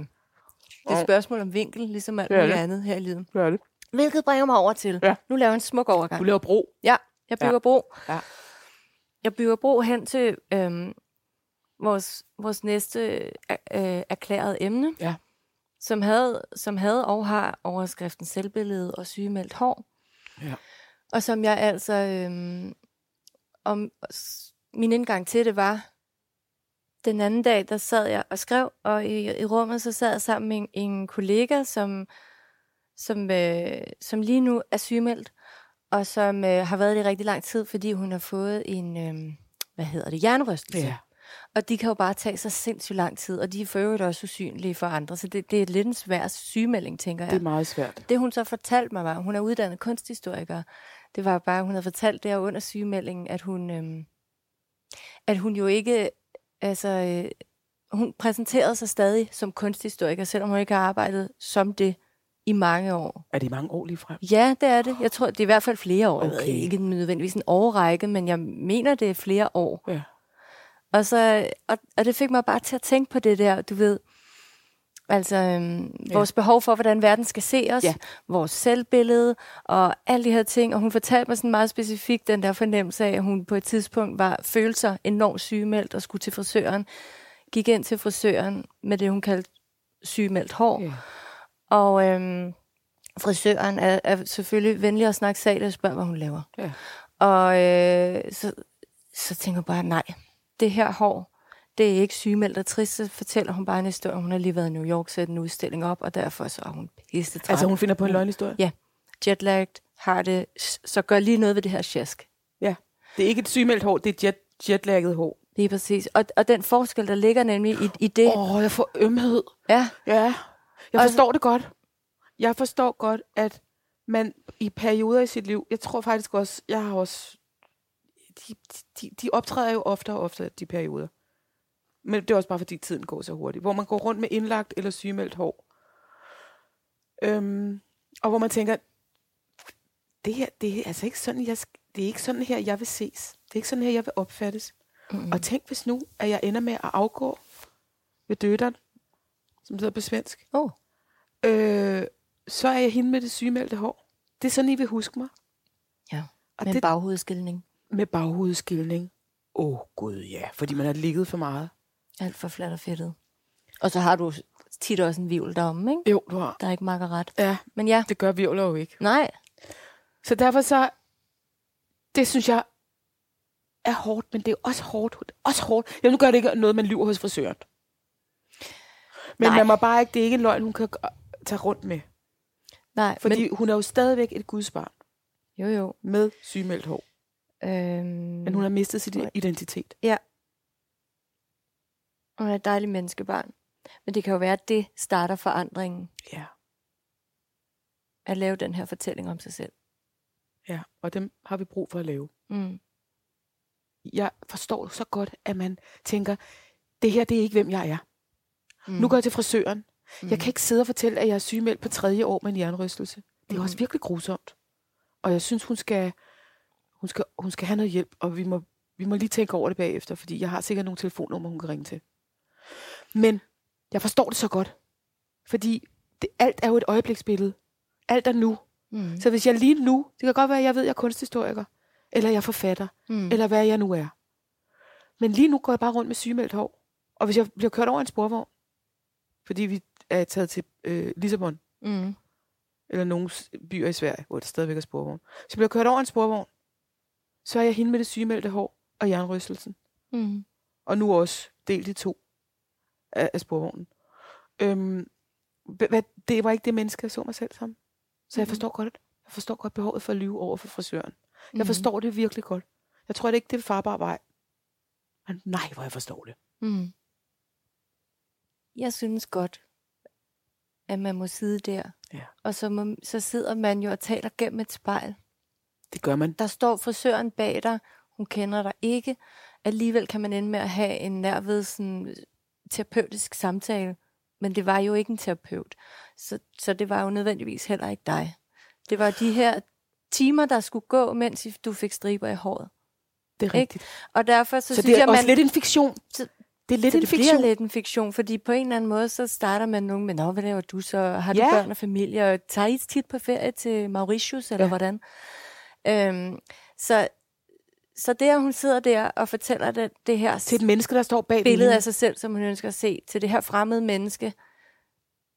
Det er et spørgsmål om vinkel, ligesom alt
Det er
muligt
det.
andet her i livet.
Det er det.
Hvilket bringer mig over til.
Ja.
Nu laver jeg en smuk overgang.
Du laver bro.
Ja, jeg bygger ja. bro.
Ja.
Jeg bygger bro hen til øhm, vores, vores næste øh, øh, erklærede emne,
Ja.
som, havde, som havde og har overskriften selvbillede og sygemeldt hår.
Ja.
Og som jeg altså... Øhm, om, s- min indgang til det var, den anden dag, der sad jeg og skrev, og i, i rummet så sad jeg sammen med en, en kollega, som, som, øh, som lige nu er sygemeldt, og som øh, har været det i rigtig lang tid, fordi hun har fået en, øh, hvad hedder det, hjernerystelse.
Ja.
Og de kan jo bare tage så sindssygt lang tid, og de er for øvrigt også usynlige for andre, så det, det er lidt en svær sygemelding, tænker jeg.
Det er meget svært.
Det hun så fortalte mig var, hun er uddannet kunsthistoriker. Det var bare, hun havde fortalt der under sygemeldingen, at hun, øhm, at hun jo ikke, altså, øh, hun præsenterede sig stadig som kunsthistoriker, selvom hun ikke har arbejdet som det i mange år.
Er det mange år lige frem?
Ja, det er det. Jeg tror, det er i hvert fald flere år. Okay. Jeg ved
Okay.
ikke nødvendigvis en årrække, men jeg mener, det er flere år.
Ja.
Og, så, og, og det fik mig bare til at tænke på det der, du ved, altså øhm,
Ja.
vores behov for, hvordan verden skal se os,
Ja.
ja. vores selvbillede og alle de her ting. Og hun fortalte mig sådan meget specifikt den der fornemmelse af, at hun på et tidspunkt var, følte sig enormt sygemeldt og skulle til frisøren. Gik ind til frisøren med det, hun kaldte sygemeldt hår.
Ja.
Og øhm, frisøren er, er selvfølgelig venlig at snakke sag, og spørger, hvad hun laver.
Ja.
Og øh, så, så tænker jeg bare, nej, det her hår, det er ikke sygemeldt og trist. Så fortæller hun bare en historie. Hun har lige været i New York, sat en udstilling op, og derfor så er hun pisse træt.
Altså, hun finder på en løgnhistorie?
Ja, jetlagt, har det, s- så gør lige noget ved det her sjask.
Ja. Det er ikke et sygemeldt hår, det er jet, jetlagget hår.
Lige præcis. Og, og den forskel, der ligger nemlig i, i det, oh.
Åh, oh, jeg får ømhed.
ja,
Ja. Jeg
Og-
forstår det godt. Jeg forstår godt, at man i perioder i sit liv, jeg tror faktisk også, jeg har også, de, de, de optræder jo oftere og oftere, de perioder. Men det er også bare, fordi tiden går så hurtigt. Hvor man går rundt med indlagt eller sygemeldt hår. Øhm, og hvor man tænker, det her, det er altså ikke sådan, jeg, sk- det er ikke sådan her, jeg vil ses. Det er ikke sådan her, jeg vil opfattes. Mm. Og tænk hvis nu, at jeg ender med at afgå ved døtteren, som sidder på svensk
oh,
øh, så er jeg hende med det sygemeldte hår. Det er sådan, I vil huske mig.
ja.
Og
med
det
en baghovedskilning.
med baghovedskilning. Åh oh, gud ja, fordi man har ligget for meget.
Alt for flat og fedtet. Og så har du tit også en vivl deromme, ikke?
Jo, du har.
Der er ikke makker ret.
Ja,
Men ja,
det gør virvler jo ikke.
nej,
Så derfor så, det synes jeg er hårdt, men det er også hårdt. Også hårdt. Jamen, nu gør det ikke noget, man lyver hos frisøren. Men Nej.
Nej.
man må bare ikke, det er ikke en løgn, hun kan g- tage rundt med.
nej.
Fordi men... hun er jo stadigvæk et gudsbarn
men, jo, jo.
med sygemeldt hår.
Øhm,
Men hun har mistet sin
Nej.
identitet.
Ja. Hun er et dejligt menneskebarn. Men det kan jo være, at det starter forandringen.
Ja.
At lave den her fortælling om sig selv.
Ja, og dem har vi brug for at lave.
Mm.
Jeg forstår så godt, at man tænker, det her det er ikke, hvem jeg er. Mm. Nu går jeg til frisøren. Mm. Jeg kan ikke sidde og fortælle, at jeg er sygemeldt på tredje år med en jernrystelse. Det er mm. også virkelig grusomt. Og jeg synes, hun skal, hun skal, hun skal have noget hjælp, og vi må, vi må lige tænke over det bagefter, fordi jeg har sikkert nogle telefonnumre, hun kan ringe til. Men jeg forstår det så godt, fordi det, alt er jo et øjebliksbillede. Alt er nu.
Mm.
Så hvis jeg lige nu, det kan godt være, at jeg ved, at jeg er kunsthistoriker, eller jeg er forfatter,
Mm.
mm. eller hvad jeg nu er. Men lige nu går jeg bare rundt med sygemeldt hår. Og hvis jeg bliver kørt over en sporvogn, fordi vi er taget til øh, Lissabon,
Mm.
eller nogle s- byer i Sverige, hvor der stadigvæk er sporvogn. Hvis jeg bliver kørt over en sporvogn, så er jeg hende med det sygemeldte hår og jernrystelsen.
Mm.
Og nu også delt i to af, af sporvognen. Øhm, hva- hvad, det var ikke det menneske, jeg så mig selv som. Så
Mhm.
jeg forstår godt, jeg forstår godt behovet for at lyve over for frisøren. Jeg
Mhm.
forstår det virkelig godt. Jeg tror det ikke, det er en farbar vej. Men nej, hvor jeg forstår det.
Mm. Jeg synes godt, at man må sidde der.
Ja.
Og så, må, så sidder man jo og taler gennem et spejl.
Det gør man.
Der står frisøren bag dig. Hun kender dig ikke. Alligevel kan man ende med at have en nærved sådan, øh, terapeutisk samtale. Men det var jo ikke en terapeut. Så, så det var jo nødvendigvis heller ikke dig. Det var de her timer, der skulle gå, mens du fik striber i håret.
Det er
Ikke?
rigtigt. Ikke?
Og derfor så,
Så, så
synes
det er
jeg,
også
man...
man... lidt en fiktion.
Så-
Det er lidt
så
en
det
fiktion.
bliver lidt en fiktion, fordi på en eller anden måde, så starter man nogen med, Nå, hvad laver du så? Har du
Ja.
børn og familie? Og tager I tit på ferie til Mauritius, eller ja.
Ja.
hvordan? Øhm, så, så det, at hun sidder der og fortæller det, det her
Til et menneske, der står bag
billede
linjen.
af sig selv, som hun ønsker at se, til det her fremmede menneske,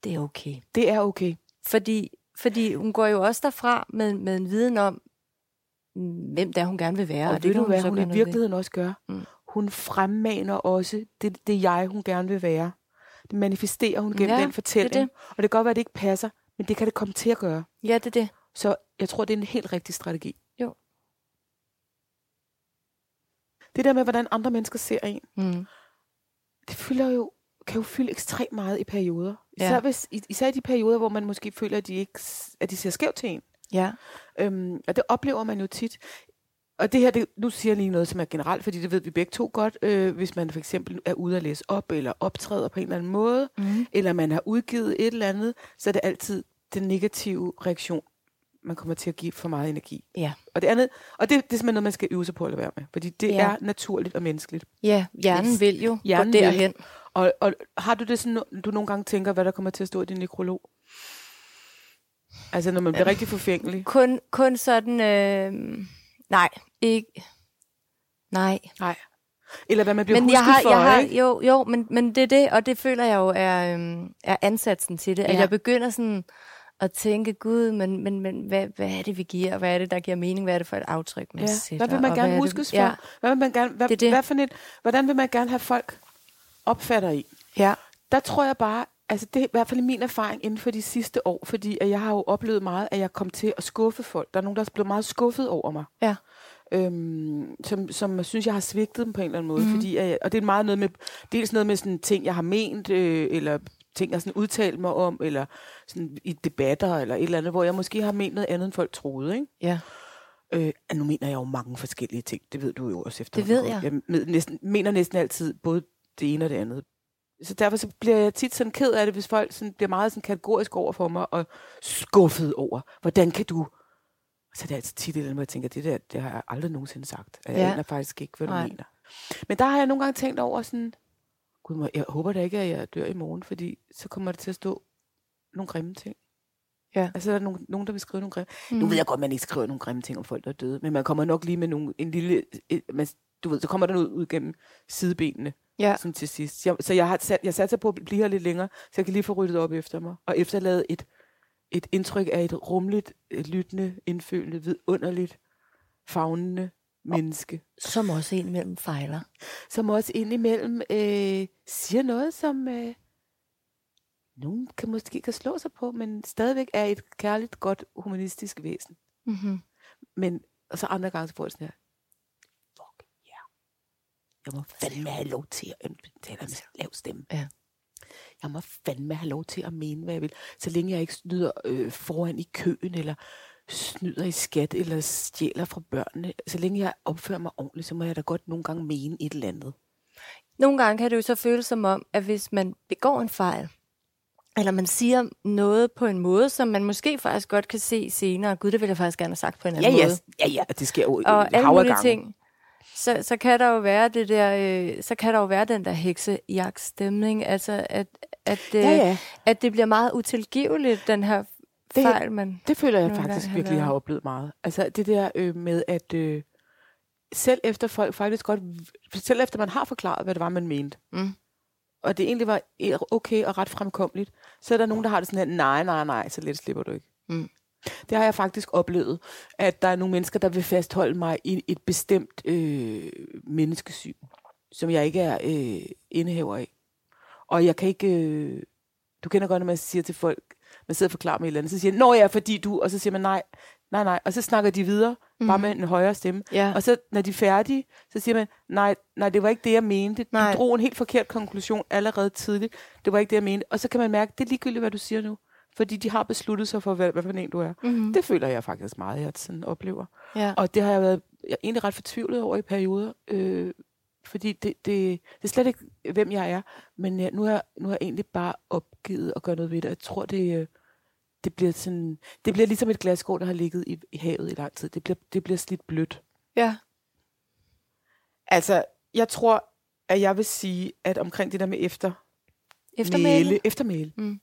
det er okay.
Det er okay.
Fordi, fordi hun går jo også derfra med, med en viden om, mm, hvem det er, hun gerne vil være.
Og, og ved
kan
du, hvad
så
hun
gøre
i
noget ved.
virkeligheden også gør?
Mm.
Mm. Hun fremmaner også det, det jeg, hun gerne vil være. Det manifesterer hun gennem
Ja,
ja, den fortælling.
det er
Det, det. Og det kan godt være, at det ikke passer, men det kan det komme til at gøre.
Ja, det er det.
Så jeg tror, det er en helt rigtig strategi.
Jo.
Det der med, hvordan andre mennesker ser en,
Mm.
det fylder jo, kan jo fylde ekstremt meget i perioder.
Ja.
Især, ja. hvis, i- især i de perioder, hvor man måske føler, at de, ikke, s- at de ser skævt til en.
Ja.
Øhm, og det oplever man jo tit. Og det her, det, nu siger jeg lige noget, som er generelt, fordi det ved vi begge to godt. Øh, hvis man for eksempel er ude at læse op, eller optræder på en eller anden måde,
Mm.
eller man har udgivet et eller andet, så er det altid den negative reaktion, man kommer til at give for meget energi.
Ja.
Og det andet, og det, det er simpelthen noget, man skal øve sig på at lade være med, fordi det
Ja.
ja. er naturligt og menneskeligt.
Ja, hjernen
Hvis
vil jo hjernen
hjernen
gå derhen.
vil. Og, og har du det sådan, no- du nogle gange tænker, hvad der kommer til at stå i din nekrolog? Altså, når man
Øhm.
bliver rigtig forfængelig.
Kun, kun sådan, øh, nej, ikke, nej.
Nej. Eller hvad man bliver
Men
husket
jeg har,
for,
jeg har,
ikke?
jo, jo, men, men det er det, og det føler jeg jo er, øhm, er ansatsen til det, at
Ja.
jeg begynder sådan at tænke, gud, men, men, men hvad, hvad er det, vi giver, og hvad er det, der giver mening, hvad er det for et aftryk, man
Ja.
sætter?
Hvad vil
og
man gerne
er det-
huskes for?
Ja,
Hvad vil man gerne, hvad,
Det er det.
Hvad for et, hvordan vil man gerne have folk opfatter i?
ja.
Der tror jeg bare, altså det er i hvert fald min erfaring inden for de sidste år, fordi at jeg har jo oplevet meget, at jeg kom til at skuffe folk. Der er nogen, der er blevet meget skuffet over mig.
Ja.
Øhm, som, som synes, jeg har svigtet dem på en eller anden måde.
Mhm.
Mm. Fordi, at jeg, og det er meget noget med, dels noget med sådan ting, jeg har ment, øh, eller ting, jeg sådan udtalt mig om, eller sådan i debatter, eller et eller andet, hvor jeg måske har ment noget andet, end folk troede. Ikke?
ja.
Øh, ah, nu mener jeg jo mange forskellige ting. Det ved du jo også efter.
ved jeg.
Jeg med, næsten, mener næsten altid både det ene og det andet. Så derfor så bliver jeg tit sådan ked af det, hvis folk sådan bliver meget sådan kategorisk over for mig og skuffet over, hvordan kan du... Så det er altså tit et eller andet, hvor jeg tænker, det der, det har jeg aldrig nogensinde sagt. Og Jeg
Ja.
ja. aner faktisk ikke, hvad du
Nej.
Nej. mener. Men der har jeg nogle gange tænkt over sådan, gud, må- jeg håber da ikke, at jeg dør i morgen, fordi så kommer det til at stå nogle grimme ting.
Ja. Mm.
Altså, der er nogen, nogen der vil skrive nogle grimme nu ved jeg godt, man ikke skriver nogle grimme ting om folk, der er døde, men man kommer nok lige med nogle, en lille... et- Man, du ved, så kommer der noget ud gennem sidebenene
Ja.
sådan til sidst. Jeg, så jeg har sat, jeg satser på at blive her lidt længere, så jeg kan lige få ryddet op efter mig, og efterlade et, et indtryk af et rumligt, øh, lyttende, indfølende, vidunderligt, fagnende menneske,
Som også en mellem fejler.
som også indimellem øh, siger noget, som øh, nogen kan måske kan slå sig på, men stadigvæk er et kærligt, godt, humanistisk væsen.
Mm-hmm.
Men og så andre gange, så får jeg sådan her, fuck yeah. jeg må fandme have lov til at øhm, taler med lav stemme.
Ja.
Jeg må fandme have lov til at mene, hvad jeg vil. Så længe jeg ikke snyder øh, foran i køen, eller snyder i skat, eller stjæler fra børnene. Så længe jeg opfører mig ordentligt, så må jeg da godt nogle gange mene et eller andet.
Nogle gange kan det jo så føles som om, at hvis man begår en fejl, eller man siger noget på en måde, som man måske faktisk godt kan se senere, gud, det ville jeg faktisk gerne have sagt på en anden måde,
ja, ja, det sker jo
og
i
alle mulige ting, så, så kan der jo være det der, øh, så kan der jo være den der heksejagtstemning, altså at, at, øh,
Ja, ja.
at det bliver meget utilgiveligt, den her
Det-
fejl, man...
Det føler jeg
Nogle gange
faktisk
han
virkelig, jeg
er-
har oplevet meget. Altså det der øh, med, at øh, selv efter folk faktisk godt, selv efter man har forklaret, hvad det var, man mente,
Mm.
og det egentlig var e- okay og ret fremkommeligt, så er der nogen, der har det sådan her, nej, nej, nej, så let slipper du ikke.
Mm.
Det har jeg faktisk oplevet, at der er nogle mennesker, der vil fastholde mig i et bestemt øh, menneskesyn, som jeg ikke er øh, indehaver af. Og jeg kan ikke... Øh, du kender godt, når man siger til folk, man sidder og forklarer med et eller andet, så siger de, Nå ja, fordi du... Og så siger man nej, nej, nej. Og så snakker de videre, mm. bare med en højere stemme.
Ja.
Og så, når de er færdige, så siger man, nej, nej, det var ikke det, jeg mente. Du
Nej.
drog en helt forkert konklusion allerede tidligt. Det var ikke det, jeg mente. Og så kan man mærke, det er ligegyldigt, hvad du siger nu. Fordi de har besluttet sig for, hvad, hvad for en du er.
Mhm.
Det føler jeg faktisk meget, jeg sådan oplever.
Ja.
Og det har jeg været jeg er egentlig ret fortvivlet over i perioder, øh, fordi det, det, det er slet ikke, hvem jeg er. Men jeg, nu, har, nu har jeg egentlig bare opgivet at gøre noget ved det. Jeg tror, det, øh, det bliver sådan, det bliver ligesom et glas skål, der har ligget i, i havet i lang tid. Det bliver, det bliver slidt blødt.
ja.
Altså, jeg tror, at jeg vil sige, at omkring det der med efter,
Eftermæle.
eftermæle.
Mm.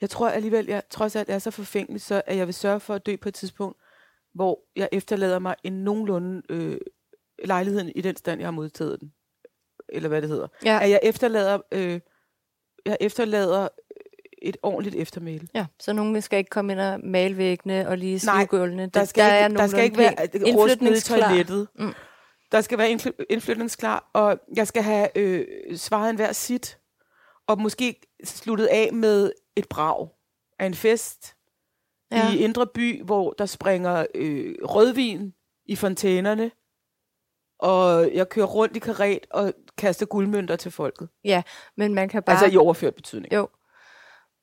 Jeg tror alligevel, jeg trods alt er så forfængelig, så at jeg vil sørge for at dø på et tidspunkt, hvor jeg efterlader mig en nogenlunde øh, lejligheden i den stand, jeg har modtaget den. Eller hvad det hedder.
Ja.
At jeg efterlader, øh, jeg efterlader et ordentligt eftermæle.
ja, så nogen skal ikke komme ind og male væggene og lige
Nej,
skrive gulvene.
Der skal,
er
ikke, der skal
nogenlunde
ikke være
pænt.
øh, rust nede i
Indflytningsklar.
toilettet.
Mm.
Der skal være indfly- indflytningsklar, og jeg skal have øh, svaret en hver sit, og måske sluttet af med et brag af en fest ja. i Indre By, hvor der springer øh, rødvin i fontænerne, og jeg kører rundt i karet og kaster guldmønter til folket.
Ja, men man kan bare...
Bare. Altså i overført betydning.
Jo.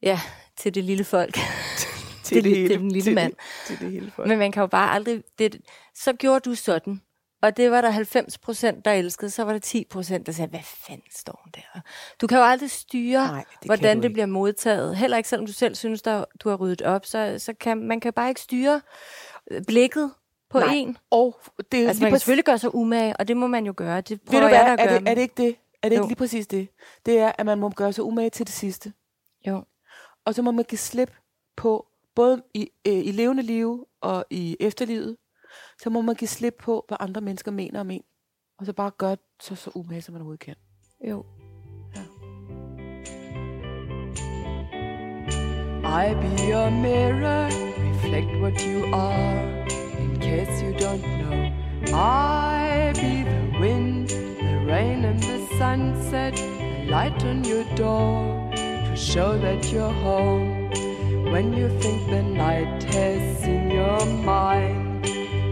Ja, til det lille folk.
til
det- det er den lille
til,
mand.
Til det hele folk.
Men man kan jo bare aldrig... Det, så gjorde du sådan. Og det var der 90 procent, der elskede. Så var der 10 procent, der sagde, hvad fanden står hun der? Du kan jo aldrig styre,
Nej, det kan
hvordan
du
det
ikke.
bliver modtaget. Heller ikke selvom du selv synes, der, du har ryddet op. Så, så kan man kan bare ikke styre øh, blikket på
Nej.
en.
Og det
Altså,
er lige
man kan
præcis-
selvfølgelig gøre sig umage, og det må man jo gøre. Det
Ved
prøver
du hvad,
jeg da at
er,
gøre.
det, er det ikke det? Er det
Jo.
ikke lige præcis det? Det er, at man må gøre sig umage til det sidste.
Jo.
Og så må man give slip på, både i, øh, i levende liv og i efterlivet, så må man give slip på, hvad andre mennesker mener om en. Og så bare gøre sig så umage, som man overhovedet kan.
Jo.
I be your mirror, reflect what you are. In case you don't know, I be the wind, the rain, and the sunset, the light on your door to show that you're home. When you think the night has in your mind,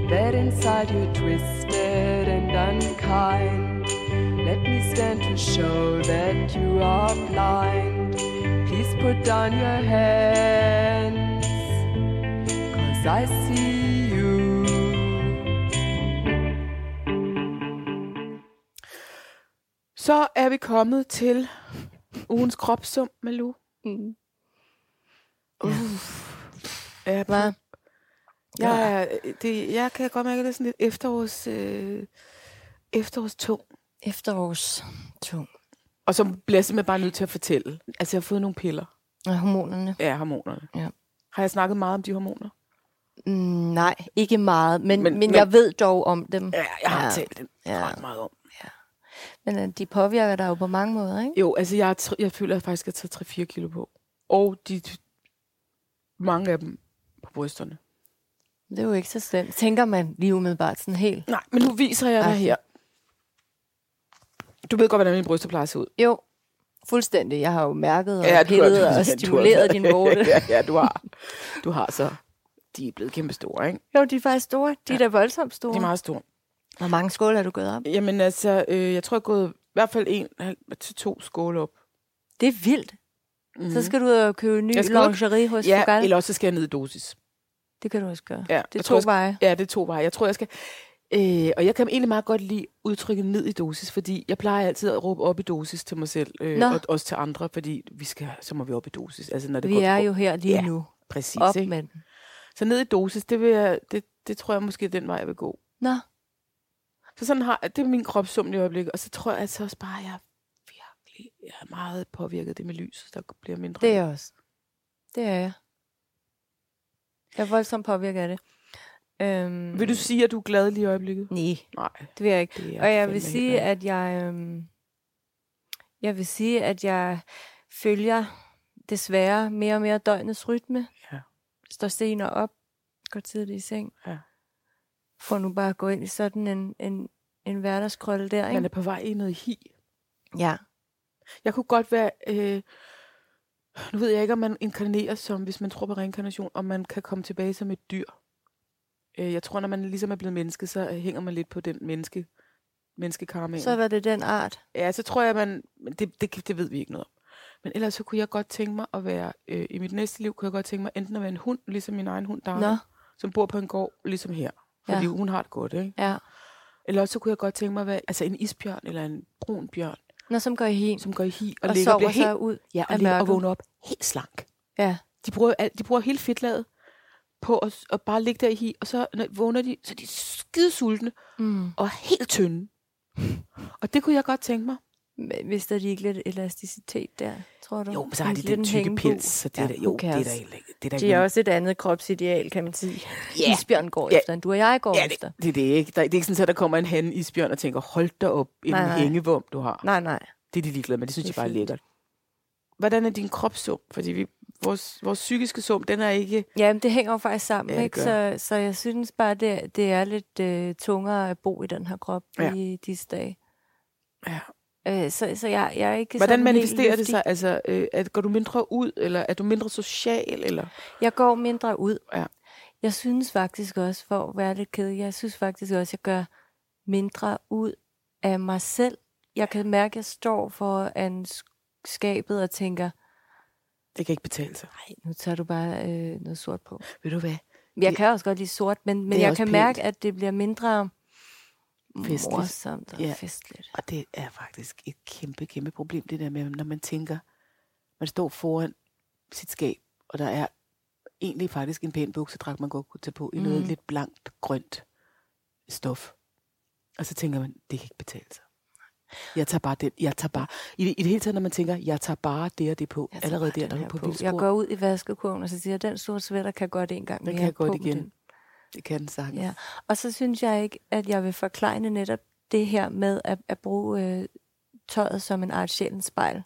that inside you're twisted and unkind. Let me stand to show that you are blind. Please put down your hands, cause I see you.
Så er vi kommet til ugens kropsum, Malou.
Mm.
Ja,
Hva?
jeg, er- det, jeg kan godt mærke, at det er sådan lidt efterårs, øh, efterårstung.
Efterårstung.
Og så bliver jeg simpelthen bare nødt til at fortælle. Altså, jeg har fået nogle piller.
Og hormonerne.
Ja, hormonerne.
Ja.
Har jeg snakket meget om de hormoner?
Mm, nej, ikke meget, men,
Men-
men, men
men-
jeg ved dog om dem.
Ja, jeg har
Ja.
ja. talt dem
Ja.
ja. ret meget om.
Men øh, de påvirker dig jo på mange måder, ikke?
Jo, altså jeg, har tr- jeg føler at jeg faktisk, at jeg har taget 3-4 kilo på. Og de, mange af dem på brysterne.
Det er jo ikke så slemt. Tænker man lige umiddelbart sådan helt.
Nej, men nu viser jeg dig
Ej.
her. Du ved godt, hvordan mine bryster plejer at se ud.
Jo, fuldstændig. Jeg har jo mærket og
Ja,
ja,
du
pillet
har-
og
du har-
stimuleret din vorte.
ja, ja, du har. Du har så... De er blevet kæmpe store, ikke?
Jo, de er faktisk store. De er da voldsomt store.
De er meget store.
Hvor mange skåle har du gået op?
Jamen altså, øh, jeg tror, jeg er gået i hvert fald en halv- til to skåle op.
Det er vildt. Mm. Så skal du ud og købe ny
Mhm. Jeg skal ud-
lingerie hos
Ja,
Fugal.
eller også så skal jeg ned i dosis.
Det kan du også gøre. det
Ja,
er
jeg
to
tror, jeg skal-
veje.
Ja, det er to veje. Jeg tror, jeg skal... Øh, og jeg kan egentlig meget godt lide udtrykket ned i dosis, fordi jeg plejer altid at råbe op i dosis til mig selv, øh,
Nå.
og også til andre, fordi vi skal, så må vi op i dosis. Altså, når det
Vi
går
er jo her lige
Ja,
nu.
Præcis,
Op
ikke?
med den.
Så ned i dosis, det, vil jeg, det, det tror jeg måske er den vej, jeg vil gå.
Nå,
Så sådan har, det er min kropssum i øjeblikket, og så tror jeg altså også bare, at jeg virkelig jeg er meget påvirket af det med lys, der bliver mindre.
det er jeg også. Det er jeg. Jeg er voldsomt påvirket af det. Øhm,
Vil du sige, at du er glad lige i øjeblikket?
Nej,
Nej.
det vil jeg ikke.
Det er
Og jeg
fandme
vil
ikke
sige,
glad.
at jeg... Øhm, jeg vil sige, at jeg følger desværre mere og mere døgnets rytme.
Ja.
Står senere op, går tidligt i seng.
Ja.
Får nu bare at gå ind i sådan en, en, en hverdagskrølle der,
Man er
ikke?
på vej i noget hi.
Ja.
Jeg kunne godt være... Øh, nu ved jeg ikke, om man inkarnerer som, hvis man tror på reinkarnation, om man kan komme tilbage som et dyr. Øh, jeg tror, når man ligesom er blevet menneske, så øh, hænger man lidt på den menneske, menneskekarmaen.
Så var det den art.
Ja, så tror jeg, man... Men det, det, det ved vi ikke noget om. Men ellers så kunne jeg godt tænke mig at være... Øh, I mit næste liv kunne jeg godt tænke mig enten at være en hund, ligesom min egen hund, Darla,
Nå,
som bor på en gård, ligesom her. Fordi
Ja.
ja. hun har det godt, ikke?
ja.
Eller også så kunne jeg godt tænke mig at være altså en isbjørn eller en brun bjørn,
Nå, som går i hen.
som går i hi og,
Og, og
ligger og
sover
bliver helt
sig ud.
Ja,
af
og, ligger og
mørket.
vågner op helt slank.
Ja.
De bruger, jo alt, de bruger hele fedtlaget på at, s- at bare ligge der i hi, og så når, vågner de, så er de skide sultne
Mm.
og helt tynde. og det kunne jeg godt tænke mig.
Men Hvis der ikke lidt elasticitet der, tror du?
Jo, men så har
En
de den
liten
tykke
hængebog.
pels, så det er
Ja,
da,
who
jo, det er
cares?
da ikke. Det er da
Det
ikke
er
noget-
også et andet kropsideal, kan man sige.
Ja.
Isbjørn går
Ja.
efter, end du og jeg går
Ja,
efter.
det, det, er det ikke. Der, det er ikke sådan, at der kommer en han isbjørn og tænker, hold da op, en
Nej, nej.
hængevom, du har.
Nej, nej.
Det er de ligeglade med, det synes
Det
det
er
jeg bare er
fint.
lækkert. Hvordan er din kropssum? Fordi vi, vores, vores psykiske sum, den er ikke...
Ja, men det hænger jo faktisk sammen,
Ja, det
ikke? Så, så jeg synes bare, det, det er lidt øh, tungere at bo i den her krop ja.
Ja.
i disse dage.
Ja.
Øh, så, så jeg, jeg er ikke sådan
Hvordan
helt
manifesterer det
luftig.
sig? Altså, øh, at går du mindre ud, eller er du mindre social? Eller?
Jeg går mindre ud.
Ja.
Jeg synes faktisk også, for at være lidt kedelig, jeg synes faktisk også, jeg gør mindre ud af mig selv. Jeg kan mærke, at jeg står foran sk- skabet og tænker,
Det kan ikke betale sig.
nej, nu tager du bare øh, noget sort på.
Ved du hvad?
Jeg kan også godt lide sort, men, men
det er
jeg
også
kan
pænt.
mærke, at det bliver mindre
Festligt.
morsomt og
Ja.
festligt.
Og det er faktisk et kæmpe, kæmpe problem, det der med, når man tænker, man står foran sit skab, og der er egentlig faktisk en pæn buksedragt, man godt kunne tage på i noget
Mhm.
lidt blankt, grønt stof. Og så tænker man, det kan ikke betale sig. Jeg tager bare det, jeg tager bare, i det, i det hele taget, når man tænker, jeg tager bare det og det på,
Jeg tager
allerede
Altså, bare
der,
den
der
her
er du på,
på.
på.
Jeg går ud i vaskekurven, og så siger jeg, den sorte sweater kan godt en gang
den
mere.
kan jeg
På
godt
med
igen.
den.
Det kan den sagtens.
Ja. Og så synes jeg ikke, at jeg vil forklejne netop det her med at, at bruge øh, tøjet som en art sjælens spejl.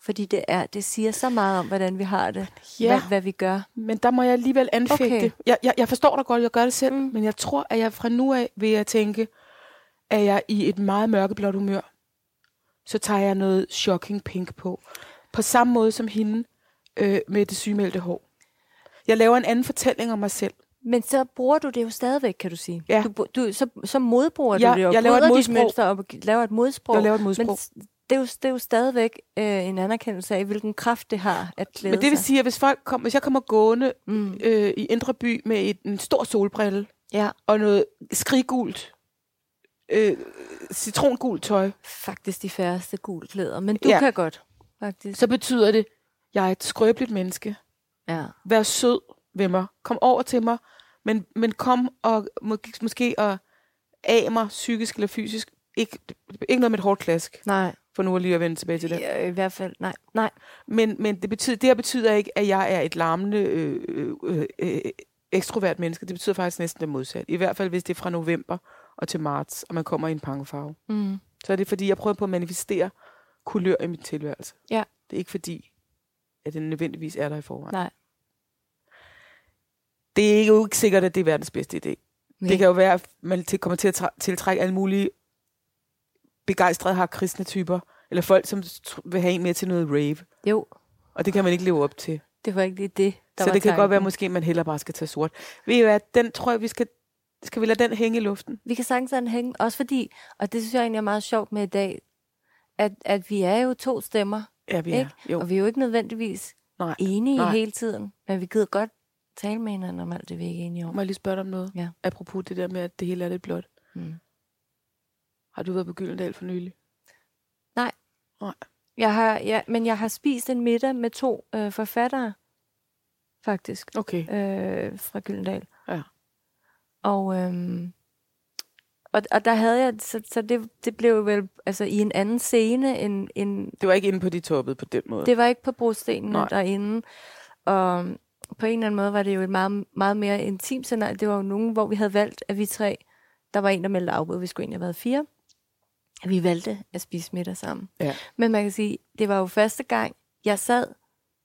Fordi det, er, det siger så meget om, hvordan vi har det,
Ja.
hvad, hvad vi gør.
Men der må jeg alligevel anfægte.
Okay.
Okay. Jeg, jeg, jeg forstår dig godt, jeg gør det selv,
Mm.
mm. men jeg tror, at jeg fra nu af vil jeg tænke, at jeg i et meget mørkeblåt humør, så tager jeg noget shocking pink på. På samme måde som hende øh, med det sygemeldte hår. Jeg laver en anden fortælling om mig selv.
Men så bruger du det jo stadigvæk, kan du sige.
Ja.
Du, bru- du, så, så modbruger
Ja,
du det, og
jeg laver et
bryder dit
modsprog.
mønster op og gi- laver et modsprog.
Jeg laver et modsprog.
Men s- det er jo, det er jo stadigvæk øh, en anerkendelse af, hvilken kraft det har at klæde
Men det vil
sig.
sige, at hvis, folk kom, hvis jeg kommer gående
Mm.
øh, i Indre By med et, en stor solbrille
Ja,
og noget skriggult, øh, citrongult tøj,
faktisk de færreste gule klæder. Men du ja.
Ja.
kan godt, faktisk.
så betyder det, at jeg er et skrøbeligt menneske.
Ja.
vær sød ved mig. Kom over til mig, men, men kom og må, måske og af mig psykisk eller fysisk. Ikke, ikke noget med et hårdt klask,
Nej,
for nu lige at vende tilbage til det.
i, i hvert fald nej. Nej,
Men, men det, betyder, det her betyder ikke, at jeg er et larmende, øh, øh, øh, øh, ekstrovert menneske. Det betyder faktisk næsten det modsatte. I hvert fald, hvis det er fra november og til marts, og man kommer i en pangefarve.
Mm.
Så er det, fordi jeg prøver på at manifestere kulør i min tilværelse.
Ja.
Det er ikke fordi, at den nødvendigvis er der i forvejen.
Nej.
Det er jo ikke sikkert, at det er verdens bedste idé.
Nej.
Det kan jo være, at man til- kommer til at tra- tiltrække alle mulige begejstrede har kristne typer, eller folk, som tr- vil have en mere til noget rave.
Jo,
Og det kan man ikke leve op til.
det var ikke lige det, der
så
var
det kan godt være,
tanken.
måske man heller bare skal tage sort. Ved I hvad, den tror jeg, vi skal Skal vi lade den hænge i luften?
Vi kan sagtens lade den hænge, også fordi, og det synes jeg egentlig er meget sjovt med i dag, at, at vi er jo to stemmer,
Ja, vi
ikke?
er. Jo.
og vi er jo ikke nødvendigvis
Nej.
enige
Nej.
hele tiden, men vi gider godt tale med hinanden om alt det, vi ikke er enige om.
Må jeg lige spørge dig om noget?
Ja.
Apropos det der med, at det hele er lidt blåt.
Mm.
Har du været på Gyldendal for nylig?
Jeg har, ja, men jeg har spist en middag med to øh, forfattere, faktisk,
Okay.
øh, fra Gyldendal.
Ja.
Og, øhm, og, og der havde jeg, så, så det, det blev vel altså, i en anden scene, end, end,
Det var ikke inde på de toppede på den måde.
det var ikke på brostenene
Nej.
derinde. Og på en eller anden måde var det jo et meget, meget mere intimt scenarie. Det var jo nogen, hvor vi havde valgt, at vi tre, der var en, der meldte afbud, vi skulle egentlig have været fire, at vi valgte at spise middag sammen.
Ja.
Men man kan sige, det var jo første gang, jeg sad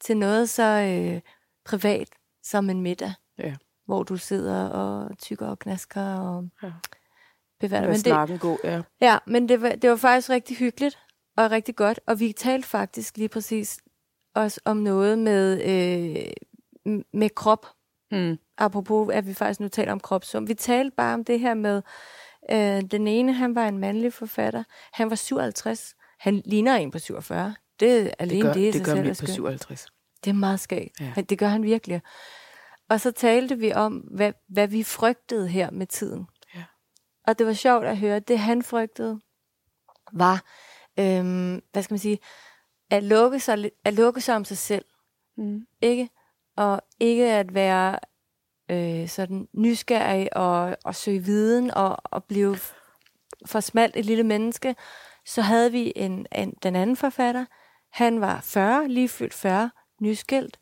til noget så øh, privat som en middag.
Ja.
Hvor du sidder og tykker og knasker og
Ja.
ja. beværter.
Lad
Men det,
snakken det... gå, ja.
ja, men det var, det var faktisk rigtig hyggeligt og rigtig godt. Og vi talte faktisk lige præcis også om noget med, øh, m- med krop
Mm.
apropos, at vi faktisk nu taler om kropssum. Vi talte bare om det her med, øh, den ene, han var en mandlig forfatter. Han var 57. Han ligner en på 47. Det, alene
Det gør,
det, i
det, det
sig
gør
selv er
mit på
skønt.
57.
Det er meget skægt.
Ja.
Ja. Det gør han virkelig. Og så talte vi om, hvad, hvad vi frygtede her med tiden.
Ja.
Og det var sjovt at høre, det han frygtede var, øhm, hvad skal man sige, at lukke sig, lidt- at lukke sig om sig selv.
Mm.
Ikke? Og ikke at være øh, sådan nysgerrig og, og søge viden og, og blive f- for smalt et lille menneske. Så havde vi en, en, den anden forfatter. Han var 40, lige fyldt 40, nyskilt.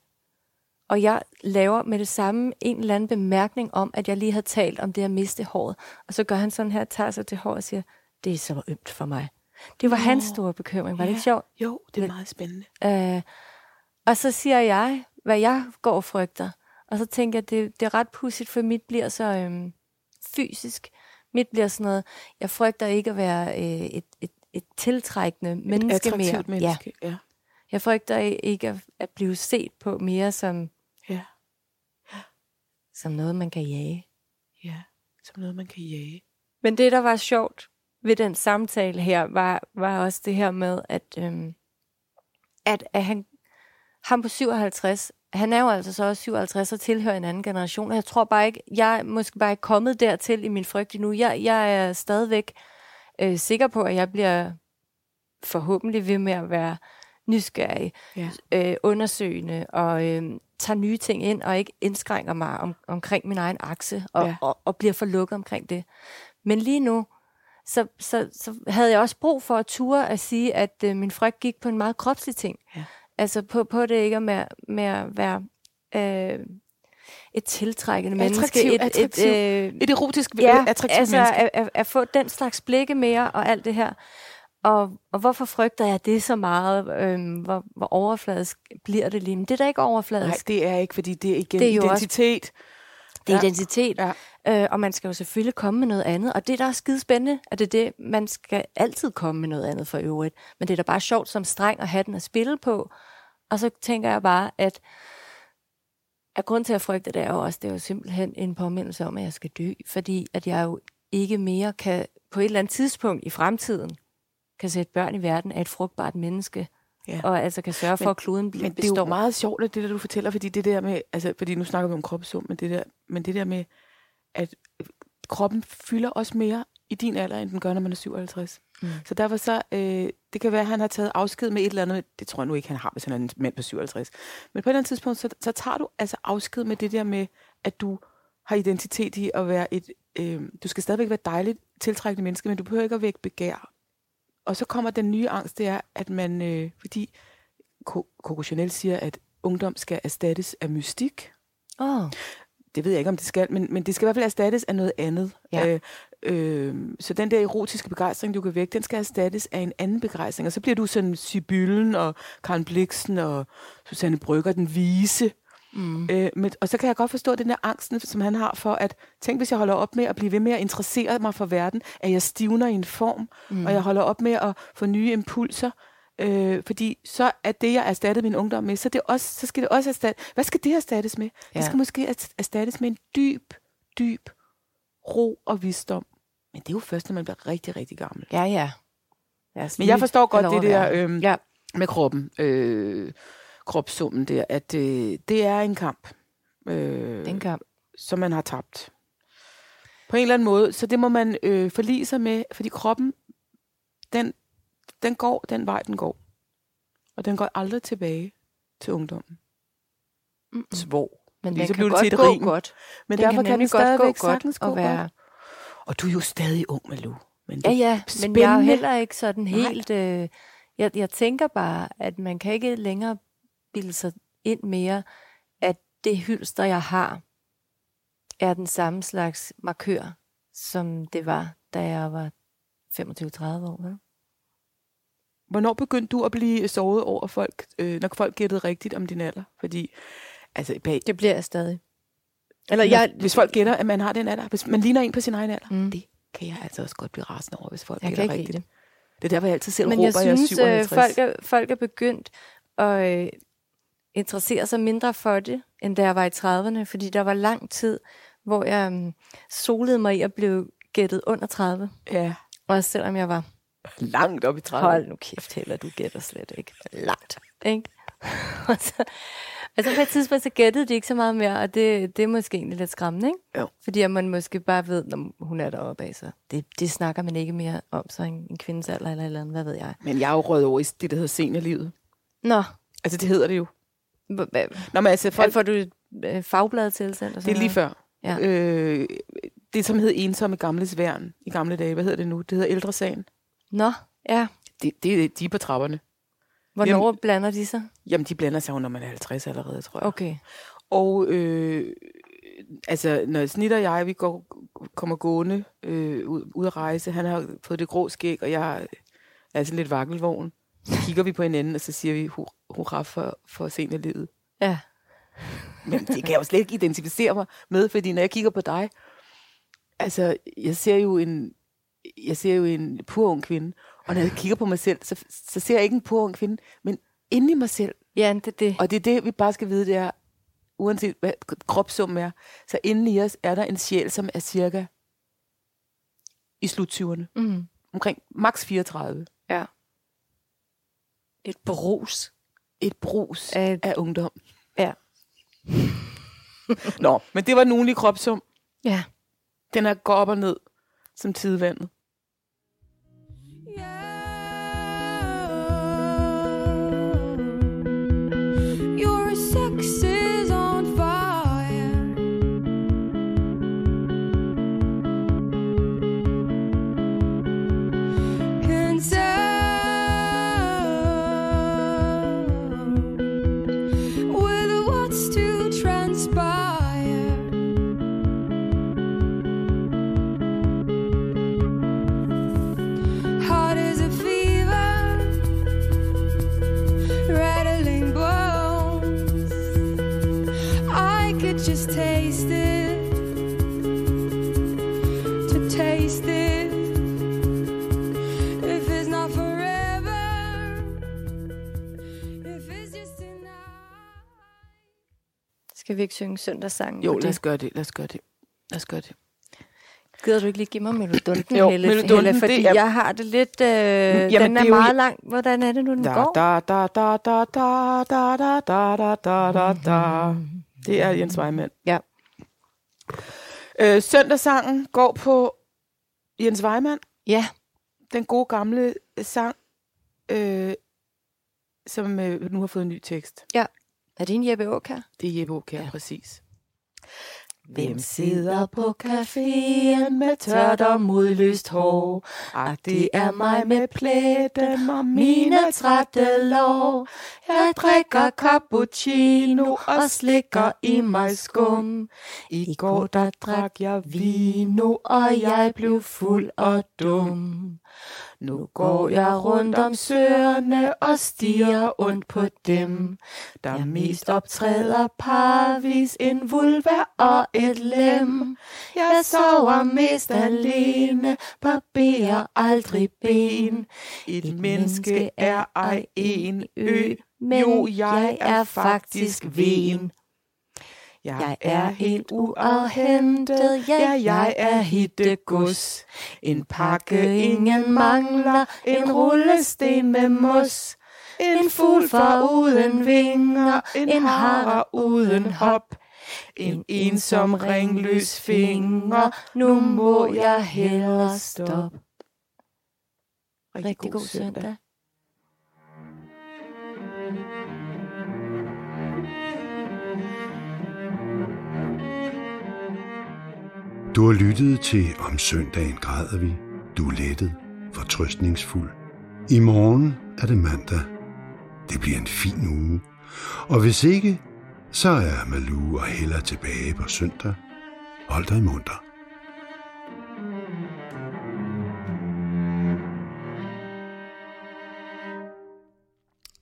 Og jeg laver med det samme en eller anden bemærkning om, at jeg lige havde talt om det at miste håret. Og så gør han sådan her, tager sig til håret og siger, det er så ømt for mig. Det var hans store bekymring. Var det ikke sjovt?
Jo, det er
Men-
meget spændende.
Øh, og så siger jeg, hvad jeg går og frygter. Og så tænker jeg, det, det er ret pudsigt, for mit bliver så øhm, fysisk. Mit bliver sådan noget, jeg frygter ikke at være øh, et, et, et tiltrækkende menneske mere.
Attraktivt
Ja.
menneske. Ja.
Jeg frygter i- ikke at, at blive set på mere som,
Ja.
som noget, man kan jage.
ja. Som noget, man kan jage.
Men det, der var sjovt ved den samtale her, var, var også det her med, at, øhm, at, at han, ham på 57, han er jo altså så også 57 og tilhører en anden generation, og jeg tror bare ikke, jeg er måske bare ikke kommet dertil i min frygt endnu. Jeg, jeg er stadigvæk øh, sikker på, at jeg bliver forhåbentlig ved med at være nysgerrig,
Ja.
øh, undersøgende og øh, tager nye ting ind og ikke indskrænker mig om, omkring min egen akse og,
Ja.
ja. og, og bliver for lukket omkring det. Men lige nu, så, så, så havde jeg også brug for at ture at sige, at øh, min frygt gik på en meget kropslig ting.
Ja.
Altså på, på det ikke med, med at være øh, et tiltrækkende
Attraktiv,
menneske. Et,
attraktiv.
Et, øh,
Et erotisk,
ja,
ja, attraktivt
altså
menneske.
At, at, at få den slags blikke mere og alt det her. Og, og hvorfor frygter jeg det så meget? Øhm, hvor, hvor overfladisk bliver det lige? Men det er da ikke
Nej,
overfladisk.
det er ikke, fordi det er igen
altså- Det er jo også-
identitet.
Det er
Ja.
identitet.
Ja.
Øh, og man skal jo selvfølgelig komme med noget andet. Og det, der er skide spændende, at det er det, man skal altid komme med noget andet for øvrigt. Men det er da bare sjovt som streng at have den at spille på. Og så tænker jeg bare, at, at grund til at frygte det er jo også, det er jo simpelthen en påmindelse om, at jeg skal dø. Fordi at jeg jo ikke mere kan på et eller andet tidspunkt i fremtiden kan sætte børn i verden af et frugtbart menneske.
Ja.
Ja. Og altså kan sørge for,
Men-
at kloden bliver
Men det er jo
består.
meget sjovt, at det der, du fortæller, fordi det der med, altså, fordi nu snakker vi om kropssum, men det der, men det der med, at øh, kroppen fylder også mere i din alder, end den gør, når man er 57. Mm.
Mm.
Så derfor så, øh, det kan være, at han har taget afsked med et eller andet, det tror jeg nu ikke, han har, hvis han er en mand på 57. Men på et eller andet tidspunkt, så, så tager du altså afsked med det der med, at du har identitet i at være et, øh, du skal stadigvæk være et dejligt tiltrækkende menneske, men du behøver ikke at vække begær. Og så kommer den nye angst, det er, at man, øh, fordi Co- Coco Chanel siger, at ungdom skal erstattes af mystik.
Åh,
Det ved jeg ikke, om det skal, men, men det skal i hvert fald erstattes af noget andet.
Ja.
Øh, øh, så den der erotiske begejstring, du kan vække, den skal erstattes af en anden begejstring. Og så bliver du sådan Sibyllen og Karen Bliksen og Susanne Brygger, den vise. Mm. Øh, men, og så kan jeg godt forstå den der angsten, som han har for, at tænk, hvis jeg holder op med at blive ved med at interessere mig for verden, at jeg stivner i en form, mm. og jeg holder op med at få nye impulser, Øh, fordi så er det, jeg erstattede min ungdom med, så, det også, så skal det også erstatte. Hvad skal det erstattes med? Ja.
Ja.
Det skal måske erst- erstattes med en dyb, dyb ro og visdom. Men det er jo først, når man bliver rigtig, rigtig gammel.
Ja, ja. Lad os
Men
lige
jeg forstår godt
have lov
det
at
der
være.
øhm,
Ja.
med kroppen, øh, kropssummen der, at øh, det er en kamp, øh,
Den kamp.
som man har tabt. På en eller anden måde. Så det må man øh, forlige sig med, fordi kroppen, den, den går den vej, den går. Og den går aldrig tilbage til ungdommen.
Mm.
Svår.
Men
Fordi
den
så
kan
blev det
godt
til et
gå
rim.
godt.
Men
Den
derfor
kan
kan, den
nemlig godt gå
stadigvæk
godt
sagtens gå
og være...
Og du er jo stadig ung, Malou. Men det
Ja,
er
ja, men jeg er jo
spændende.
heller ikke sådan
Nej.
helt... Øh, jeg, jeg tænker bare, at man kan ikke længere bilde sig ind mere, at det hylster, jeg har, er den samme slags markør, som det var, da jeg var 25-30 år. vel?
Hvornår begyndte du at blive såret over folk, øh, når folk gættede rigtigt om din alder? Fordi, altså, bag,
Det bliver jeg stadig. Eller
når,
jeg,
hvis folk gætter, at man har den alder, hvis man ligner en på sin egen alder,
Mm.
mm. det kan jeg altså også godt blive rasende over, hvis folk
jeg
gætter
kan ikke lide
rigtigt.
det.
Det er derfor, jeg altid selv
Men
råber,
jeg synes,
at jeg er
øh,
57.
folk,
Folk...
er, folk er begyndt at øh, interessere sig mindre for det, end da jeg var i 30'erne, fordi der var lang tid, hvor jeg øh, solede mig i at blive gættet under 30.
Ja,
Også selvom jeg var,
langt op i 30.
hold nu kæft heller, du gætter slet ikke. Langt, ikke? og, så, og så på et tidspunkt, så gættede de ikke så meget mere, og det, det er måske egentlig lidt skræmmende, ikke?
Jo.
Fordi at man måske bare ved, når hun er deroppe af sig. Det, det snakker man ikke mere om, så en, en kvindes alder eller et eller andet, hvad ved jeg.
Men jeg er jo røget over i det, der hedder seniorlivet.
Nå,
Altså, det hedder det jo.
hva- hva-
Nå, men altså, folk,
Folk... Får du øh, fagbladet tilsendt? Og
det er
sådan
lige før.
Ja.
Øh, det, som hed ensomme gamles værn i gamle dage. Hvad hedder det nu? Det hedder ældresagen.
noget? Nå, ja.
Det, det, de er på trapperne.
Hvornår Jamen... blander de sig?
Jamen, de blander sig jo, når man er 50 allerede, tror jeg.
Okay.
Og øh, altså, når Snit og jeg, vi går, kommer gående øh, ud, ud at rejse, han har fået det grå skæg, og jeg er sådan lidt vakkelvogn. Så kigger vi på hinanden, og så siger vi hu- hurra for, for seniorlivet.
Ja.
Men det kan jeg jo slet ikke identificere mig med, fordi når jeg kigger på dig, altså, jeg ser jo en, jeg ser jo en pur ung kvinde, og når jeg kigger på mig selv, så, så ser jeg ikke en pur ung kvinde, men inde i mig selv,
Ja, det er det.
og det er det, vi bare skal vide, det er, uanset hvad kropssummen er, så inden i os er der en sjæl, som er cirka i sluttyverne.
Mm.
Omkring maks 34.
Ja. Et brus.
Et brus af,
Af...
af ungdom.
Ja.
Nå, men det var den ugenlige kropssum.
Ja.
Den er går op og ned som tidvandet.
Your sex is on fire. Can tell with what's to transpire. Hot as a fever, rattling bones. I could just taste it, to taste it. If it's not forever, if it's just tonight.
Skal vi ikke synge søndagssangen?
Jo,
på
lad os
det?
gøre det, lad os gøre det. Lad os gøre det.
Gider du ikke lige give mig melodunden,
Jo,
Helle,
melodunden,
Helle, fordi
det er-
jeg har det lidt... Øh, Jamen, den
det
er,
er jo-
meget lang. Hvordan er det nu, den
Da,
går?
da, da, da, da, da, da, da, da, da, da, da, da. Det er Jens Weimann.
Ja.
Øh, søndagssangen går på Jens Weimann,
Ja,
den gode gamle sang, øh, som øh, nu har fået en ny tekst.
er det en Jeppe Aukær?
Det er Jeppe Aukær, ja. præcis.
Hvem sidder på caféen med tørt og modløst hår?
Ak,
det er mig med pletten og mine trætte lår. Jeg drikker cappuccino og slikker i mig skum. I går der drak jeg vino, og jeg blev fuld og dum. Nu går jeg rundt om søerne og stiger ondt på dem. Der mest optræder parvis en vulva og et lem. Jeg sover mest alene, barberer aldrig ben.
Et menneske er ej en ø,
men jo, jeg er faktisk ven.
Jeg,
Jeg er helt uafhentet, ja, jeg er hittegods.
En
Pakke ingen mangler, en rullesten med mos. En fugl for uden vinger, en hare uden hop. En ensom ringløs finger, nu må jeg hellere stoppe. Rigtig god søndag.
Du har lyttet til Om søndagen græder vi. Du er lettet, fortrøstningsfuld. I morgen er det mandag. Det bliver en fin uge. Og hvis ikke, så er Malou og Hella tilbage på søndag. Hold dig munter.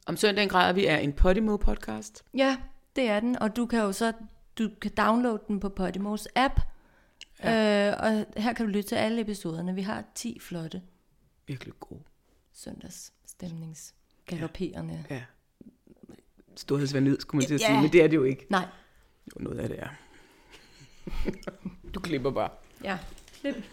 Om søndagen græder vi er en Podimo-podcast.
Ja, det er den, og du kan jo så du kan downloade den på Podimos app. Ja. Øh, og her kan du lytte til alle episoderne. Vi har 10 flotte
Virkelig god.
søndagsstemnings galopperende. Ja.
Ja. Storhedsvandet, skulle man til at
Ja.
sige, men det er det jo ikke.
Nej,
Jo, noget af det er. du klipper bare.
ja. Klip.